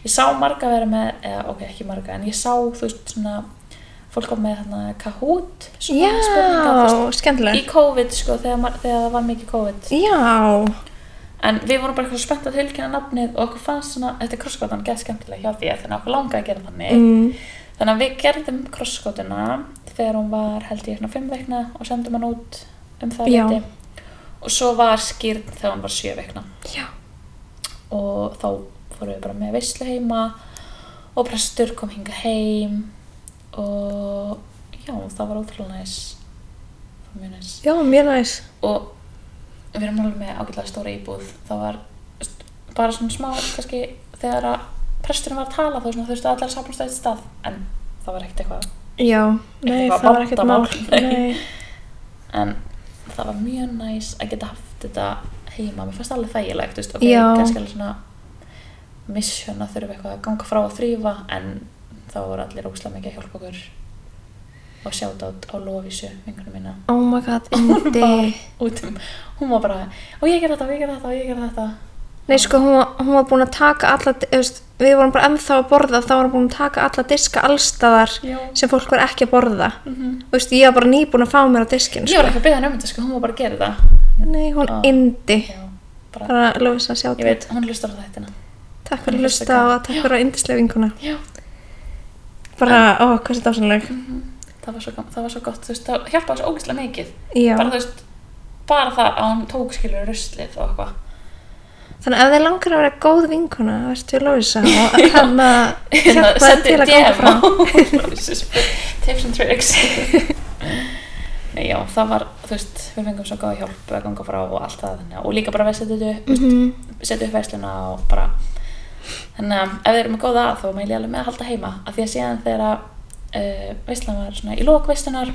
B: ég sá marga vera með, eða ok, ekki marga en ég sá, þú veist, svona fólk var með hérna Kahoot sko, svona spurningar, þú
A: Já,
B: veist, í
A: skemmtileg
B: COVID sko, þegar, mar- þegar það var mikið COVID
A: Já,
B: en við vorum bara eitthvað spennt að tilkynna nafnið og okkur fannst svona, þetta er krosskvatan, geð skemmtilega hjá þér þannig að okkur langaði að gera þannig
A: mm,
B: Þannig að við gerðum krosskotuna þegar hún var held ég svona fimm veikna og sendum hann út um það
A: Já.
B: leyti. og svo var skýrn þegar hann var sjö veikna
A: já
B: og þá fórum við bara með veislu heima og prestur kom hinga heim og já, það var ótrúlega næs það var mjög næs
A: Já, mjög næs
B: og við erum alveg með ágætlega stóra íbúð þá var st- bara svona smá kannski þegar að presturinn var að tala þá svona þurftu allar að sapnast á eitt stað en það var ekkert eitthvað
A: Já, nei,
B: Eitthvað
A: það var ekkert mál
B: vandamál, nei.
A: Nei,
B: en það var mjög næs að geta haft þetta heima, mér fannst það alveg þægilegt þú veist, ok,
A: Já.
B: kannski alveg svona mission að þurfa eitthvað að ganga frá að þrýfa en þá voru allir óslega mikið að hjálpa okkur og sjátt á lofísu vingunum mína
A: oh my god,
B: hún var
A: indi
B: út um, hún var bara og ég ger þetta, og ég ger þetta, og ég ger þetta
A: Nei, sko, hún var, hún var búin að taka alla, þú veist, við vorum bara ennþá að borða, þá var hún búin að taka alla diska allstaðar
B: Já.
A: sem fólk var ekki að borða.
B: Mhm.
A: Þú veist, ég var bara nýbúin að fá mér á diskin,
B: ég
A: sko.
B: var ekki að byrja henni um þetta, sko, hún var bara að gera þetta
A: Nei, hún
B: Ah.
A: indi.
B: já, bara,
A: Bara lofis að sjá
B: ég veit, hún hlustar á þetta
A: Takk fyrir
B: hún
A: að
B: hlustar
A: hlusta
B: gaman.
A: og takk fyrir að indislega vinkuna.
B: já
A: Bara, ó, hvað er þetta ásynleg?
B: það var svo, gaman- það var svo gott, þú veist, það hjálpaði svo ógeðslega mikið
A: Já.
B: bara þú veist bara það að hún tók skilur ruslið og eitthvað
A: Þannig ef þið langar að vera góð vinkuna, verður við lofisa og kann að
B: Hérna,
A: hjálpa þér
B: sendi
A: til að
B: DM
A: ganga frá.
B: á- tips and tricks Nei, já, það var, þú veist, við fengum svo góða hjálp að ganga frá og allt það þannig að- og líka bara við setja þetta upp,
A: Mhm.
B: setja upp veisluna og bara þannig að ef við erum með góða að þá mæli ég alveg með að halda heima af því að síðan þegar að uh, veislan var svona í lók veislunar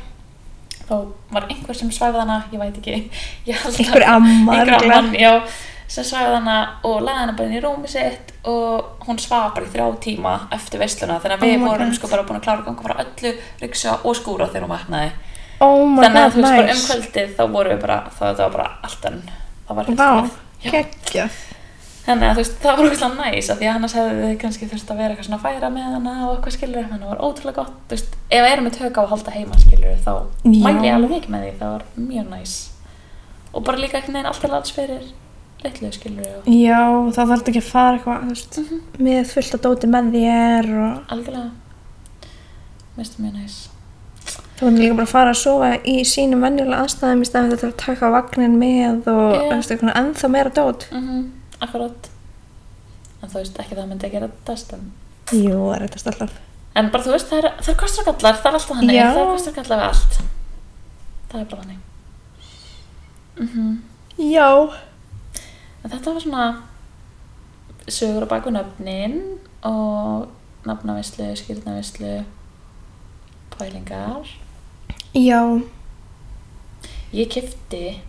B: þá var einhver sem svæfði hana ég veit ekki ég held að-
A: Einhver amma,
B: einhver
A: örugglega.
B: amman, já, sem svæfði hana og laði hana bara inn í rúmi sitt og hún svaf bara í þrjá tíma eftir veisluna þannig að
A: Oh
B: við
A: my
B: vorum
A: God.
B: sko bara búin að klára að ganga frá öllu ryksa og skúra þegar hún vaknaði
A: Oh my
B: þannig að
A: god,
B: þú veist bara um
A: nice.
B: kvöldið þá vorum við bara, þá þetta var bara allt enn það
A: Vá,
B: var fullkomið. Já.
A: geggjað.
B: Þannig að þú veist, það var ógeðslega næs af því að annars hefðu þið kannski þurft að vera eitthvað svona að færa með hana og eitthvað skilur þannig að það var ótrúlega gott, þú veist, ef erum við tök á að halda heima skilur þá
A: Já.
B: mæli ég alveg ekki með því, það var mjög næs og bara líka einhvern veginn allt til alls fyrir litlu skilur og
A: Já, þá þarf ekki að fara eitthvað, þú veist,
B: Mhm.
A: með fullt að dóti með þér og
B: algjörlega, mér finnst það mjög næs
A: það Þú veit líka bara að fara að sofa í sínum venjulega aðstæðum í staðan þetta að taka vagnin með og
B: Já.
A: yeah. veist, eitthvað, ennþá meira dót.
B: mm -hmm. akkurat en þú veist ekki að það myndi að gera þetta en,
A: Jú, það er þetta alltaf.
B: en bara þú veist það er, það er kostur og gallar það er alltaf þannig,
A: Já.
B: það er kostur og gallar við allt það er bara þannig mm
A: Já.
B: en þetta var svona sögur á baku nöfnin og nafnavislu, skýrnavislu pælingar
A: Já.
B: ég kefti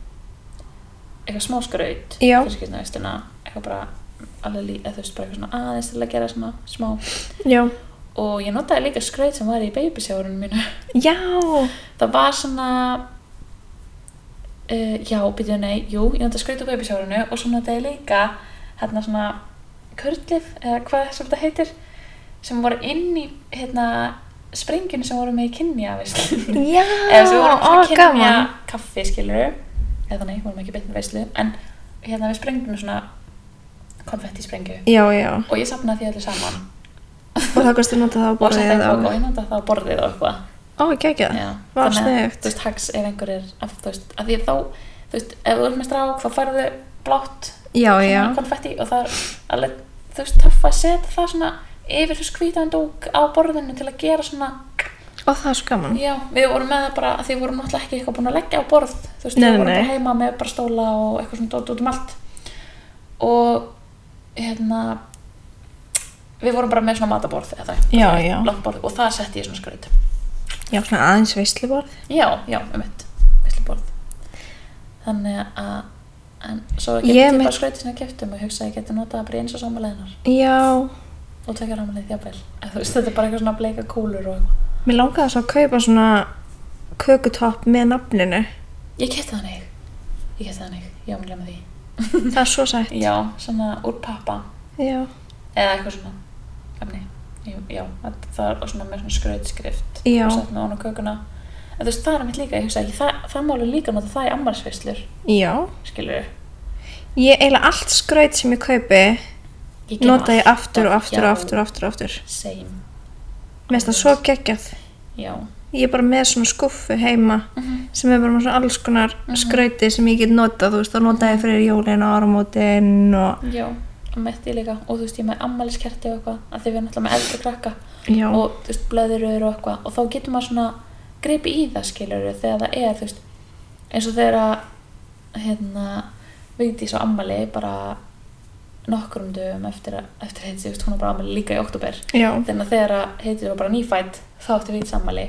B: eitthvað smá skraut
A: Já.
B: fyrir skýrnavisluna eitthvað bara alveg lí, eða þú veist bara eitthvað svona aðeins til að gera svona smá
A: Já.
B: og ég notaði líka skraut sem var í babysjárunum mínu
A: Já.
B: það var svona uh, já, býtum nei, jú ég notaði skraut á babysjárunu og svo notaði ég líka hérna svona körlif eða hvað sem þetta heitir sem voru inn í hérna sprenginu sem voru með í kynjavislu
A: Já.
B: eða sem við vorum
A: Ó,
B: svona að kynja
A: gaman.
B: kaffi skilur eða nei, vorum ekki beintin veislu en hérna við sprengdum svona konfetti sprengju
A: Já, já.
B: og ég sapnaði því allir saman
A: Og það kosti nota það á
B: og
A: borðið
B: setti
A: eða á.
B: eitthvað og ég nota það á borðið og eitthvað
A: Ó, ekki ekki það.
B: Já.
A: Vá,
B: Þannig að,
A: sniðugt.
B: þú veist, hags ef einhver er af, þú veist, að því þá, þú veist, ef þú erum með strák þá færðu blátt
A: Já, já.
B: svona konfetti og það er alveg, þú veist, töff að setja það svona yfir svo skvítan dók á borðinu til að gera svona
A: Og það er svo gaman.
B: Já, við vorum með það bara að því við vorum náttúrulega ekki eitthvað búin að leggja á borð þú veist,
A: Nei,
B: við
A: nei,
B: vorum bara
A: nei.
B: heima með bara stóla og eitthvað svona dót út um allt og hérna við vorum bara með svona mataborð eða það,
A: Já,
B: svona
A: já.
B: langt borð og það setti ég svona skraut
A: Já, svona aðeins veisluborð.
B: Já, já, um mitt, veisluborð þannig að en svo
A: Ég
B: getur ég
A: mitt-
B: bara skraut sem ég keftum og hugsa að ég geti notað bara í eins og samaleginar
A: Já.
B: og tekja ramalegi þjábel þú veist, þetta er bara eitthvað svona bleika kúlur og eitthvað
A: Mér langaði svo að kaupa svona kökutopp með nafninu.
B: Ég kefti þannig Ég kefti þannig, já, mér glemma því Mhm.
A: Það er svo sætt.
B: Já, svona úr pappa
A: Já.
B: eða eitthvað svona efni Jú, Já, það- það er svona með svona skrautskrift
A: Já.
B: og sett með honum kökuna en þú veist, það er mitt líka, ég hugsa ekki það, það máli líka nota það í ammarsveislur
A: Já.
B: skilur
A: Ég eiginlega allt skraut sem ég kaupi
B: ég geri
A: nota ég
B: alltaf-
A: aftur og aftur
B: já,
A: og aftur og aftur og aftur.
B: same,
A: Mér finnst það svo geggjað.
B: já
A: Ég er bara með svona skuffu heima sem er bara með svona alls konar
B: Mhm.
A: skrauti sem ég get notað, þú veist, þá nota ég fyrir jólin og áramótin og...
B: já, og metti ég líka og þú veist, ég er með ammæliskerti og eitthvað að því við erum náttúrulega með eldri krakka
A: Já.
B: og þú veist, blöðurur og eitthvað og þá getur maður svona greipi í það skilur þegar það er, þú veist eins og þegar að hérna, Vigdís og Ammali bara nokkrum dögum eftir, að- eftir heiti, þú veist, hún var bara Ammali líka í oktober
A: Já.
B: þannig að þegar að heitir var bara nýfætt þá átti Vigdís Ammali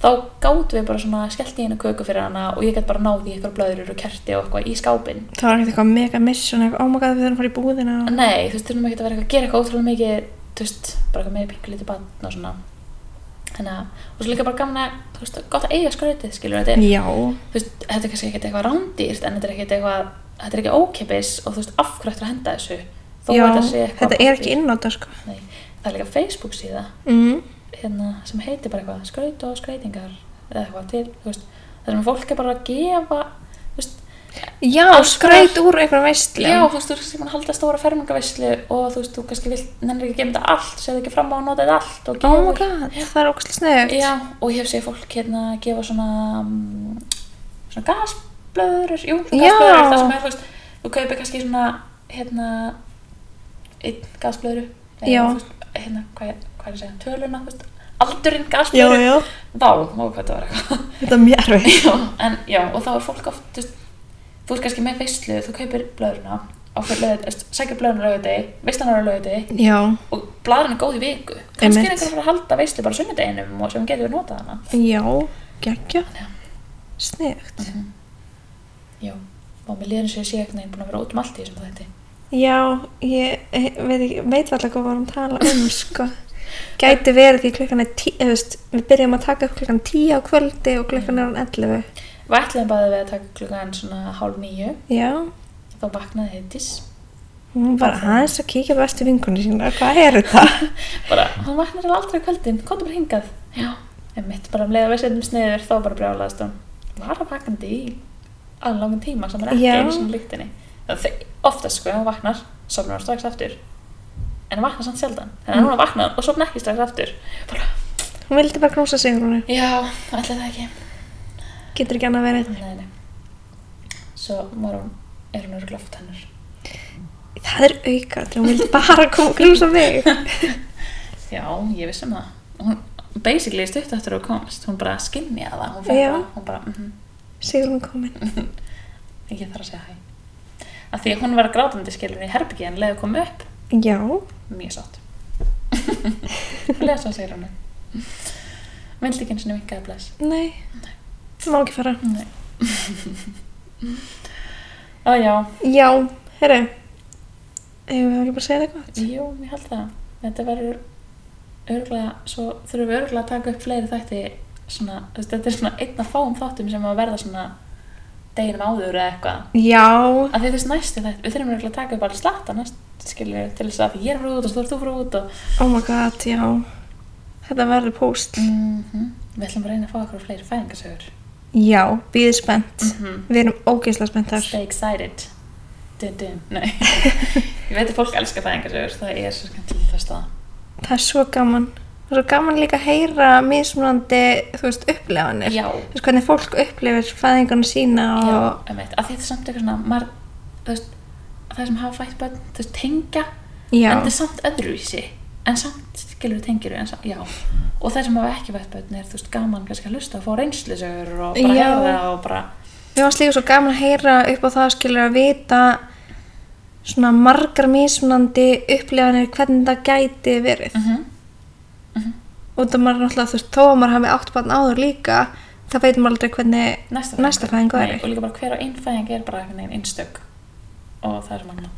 B: þá gátum við bara svona skellt í hennu köku fyrir hana og ég gæti bara náði í eitthvað blöðurur og kerti og eitthvað í skápinn
A: Það var ekkert eitthvað mega mission, eitthvað ómagað við þurfum að fara í búðina. og-
B: Nei, þú veist, þurfum ekki að vera eitthvað að gera eitthvað ótrúlega mikið, þú veist, bara eitthvað með pingu lítið bann og svona. Þannig að, og svo líka bara gaman að, þú veist, gott að eiga skrautið, skilur þetta. er,
A: Já.
B: Þú veist, þetta er kannski ekkert eitthvað rándýrt, en þetta er ekkert eitthvað, þetta er ekki ókipis og þú veist, af hverju ættir að henda þessu? Þó
A: Já.
B: að þetta sé eitthvað.
A: Þetta er ekki innátað, sko.
B: Nei, það er líka Facebook síða,
A: Mm.
B: hérna, sem heitir bara eitthvað, skraut og skrautingar, eða eitthvað til, þú veist, þar sem fólk er bara að gefa, þú veist,
A: Já,
B: Alls
A: skraut úr einhverjum veistlu.
B: Já, þú veist, þú ert kannski búin að halda stóra fermingaveislu og þú veist, þú kannski vilt, nennir ekki að gema þetta allt, segðu ekki fram á að nota þetta allt og
A: Oh my god, það er ógæslega snögt.
B: Já, og ég hef séð fólk hérna gefa svona, mm, svona gasblöður, jú, svona
A: Já.
B: gasblöður, það sem er, þú veist, þú kaupir kannski svona, hérna, einn gasblöður,
A: Já.
B: hérna, hvað, er- hvað er að segja, töluna, þú veist, aldurinn gasblöður,
A: já.
B: vá, má hvað þetta var eitthvað.
A: Þetta er mjög erfið.
B: Já, en já, og þá er fólk oft, þú veist, þú ert kannski með veistlu, þú kaupir blöðruna, á fyrir löðið, sækir blöðruna löðið, veistlanar löðið
A: Já,
B: og blaðurinn er góð í viku. Kannski
A: Einmitt.
B: er einhver að fara að halda veistlu bara sunnudeginum og sem getur notað hana.
A: já, geggja.
B: Já.
A: Snögt.
B: Já, og mér liður eins og ég sé eitthvað einn búin að vera út um allt í þessum þetta.
A: Já, ég eh, veit, ekki- veit alltaf hvað við varum að tala um, sko. Gæti verið því klukkan er tí, eða veist, við byrjum að taka upp klukkan tíu á kvöldi og klukkan er hann 11.
B: Við ætlaðum bara við að taka klukkan svona hálf nýju,
A: Já,
B: þá vaknaði heitis.
A: hún var aðeins að kíkja á bestu vingunni sína, hvað er þetta?
B: Bara, hann vaknar alveg aldrei á kvöldin, komdu bara hingað. Já, en mitt bara um leið að við setjum sniður, þá bara brjálaðist hún. Var að vakandi í alveg langan tíma sem er ekki
A: Já.
B: einu sinni líktinni. Þannig oftast sko, ef hann vaknar, sofnar hann Mm. strax aftur. En hann vaknar samt sjaldan. Þannig að hann vaknar og sofnar ekki strax aftur. Bara,
A: Hún vildi bara knúsa sig hún
B: Já, ætla það ekki.
A: getur ekki annað verið.
B: Nei, nei. Svo var hún, er hún örgulega fótt hennar.
A: Það er auka, hún vildi bara koma og knúsa mig.
B: Já, ég vissi um það. Hún, basically, stutt eftir að þú komst, hún bara skinnjaði það. Hún fann
A: Já.
B: bara, hún bara, mhm,
A: Sigur hún komin.
B: ég þarf að segja hæ. Af því að hún var grátandi skilur í herbyggi en leiði kom upp,
A: Já,
B: mjög sátt. Leða svo segir hún. Vildi ekki eins og vinkaði bless.
A: nei. Má ekki fara.
B: Nei. Ó já,
A: Já, herru. Eigum við ekki bara að segja það gott?
B: jú, ég held það. Þetta verður örgulega, svo þurfum við örgulega að taka upp fleiri þætti svona, þú veist, þetta er svona einn af fáum þáttum sem að verða svona deginum áður eða eitthvað.
A: Já,
B: Af því þú veist næstu þetta, við þurfum örgulega að taka upp alveg slatta næst, skilur, til þess að ég er frá út og svo er þú frá út og
A: oh my god, já. Þetta verður póst.
B: mm við ætlum að reyna að fá okkur fleiri fæðingasögur.
A: Já, býðið spennt.
B: Mhm.
A: Við erum ógeðslega spenntar.
B: Stay excited. Dun dun, nei. ég veit að fólk elskar fæðingasögur, það er svo skemmtilega það staða.
A: Það er svo gaman. Það er svo gaman líka að heyra mismunandi, þú veist, upplefanir.
B: Já.
A: Þú veist, hvernig fólk upplifir fæðingarna sína og...
B: Já, einmitt, að því þetta er samt eitthvað svona mar, þú veist, það sem hafa fætt börn, þú veist, tengja
A: Já.
B: en það er samt öðruvísi en samt skilur tengir en samt, já og það sem hafa ekki fætt börn er, þú veist, gaman kannski að hlusta og fá reynslisögur og bara
A: Já.
B: heyra og bara,
A: Mér varst líka svo gaman að heyra upp á það, skilur, að vita svona margar mismunandi upplifanir, hvernig það gæti verið.
B: mhm
A: Og það maður náttúrulega, þú veist, þó að maður hafi átt barn áður líka, það veit maður aldrei hvernig
B: næsta,
A: Næsta fæðing væri.
B: Nei, og líka bara hver og einn fæðing er bara einhvern veginn einstök og það er sem magna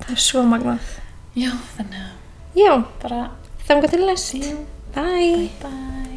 A: það er svo magnað.
B: já, þannig að
A: Já,
B: bara,
A: þangar til næst.
B: see you,
A: Bye.
B: bye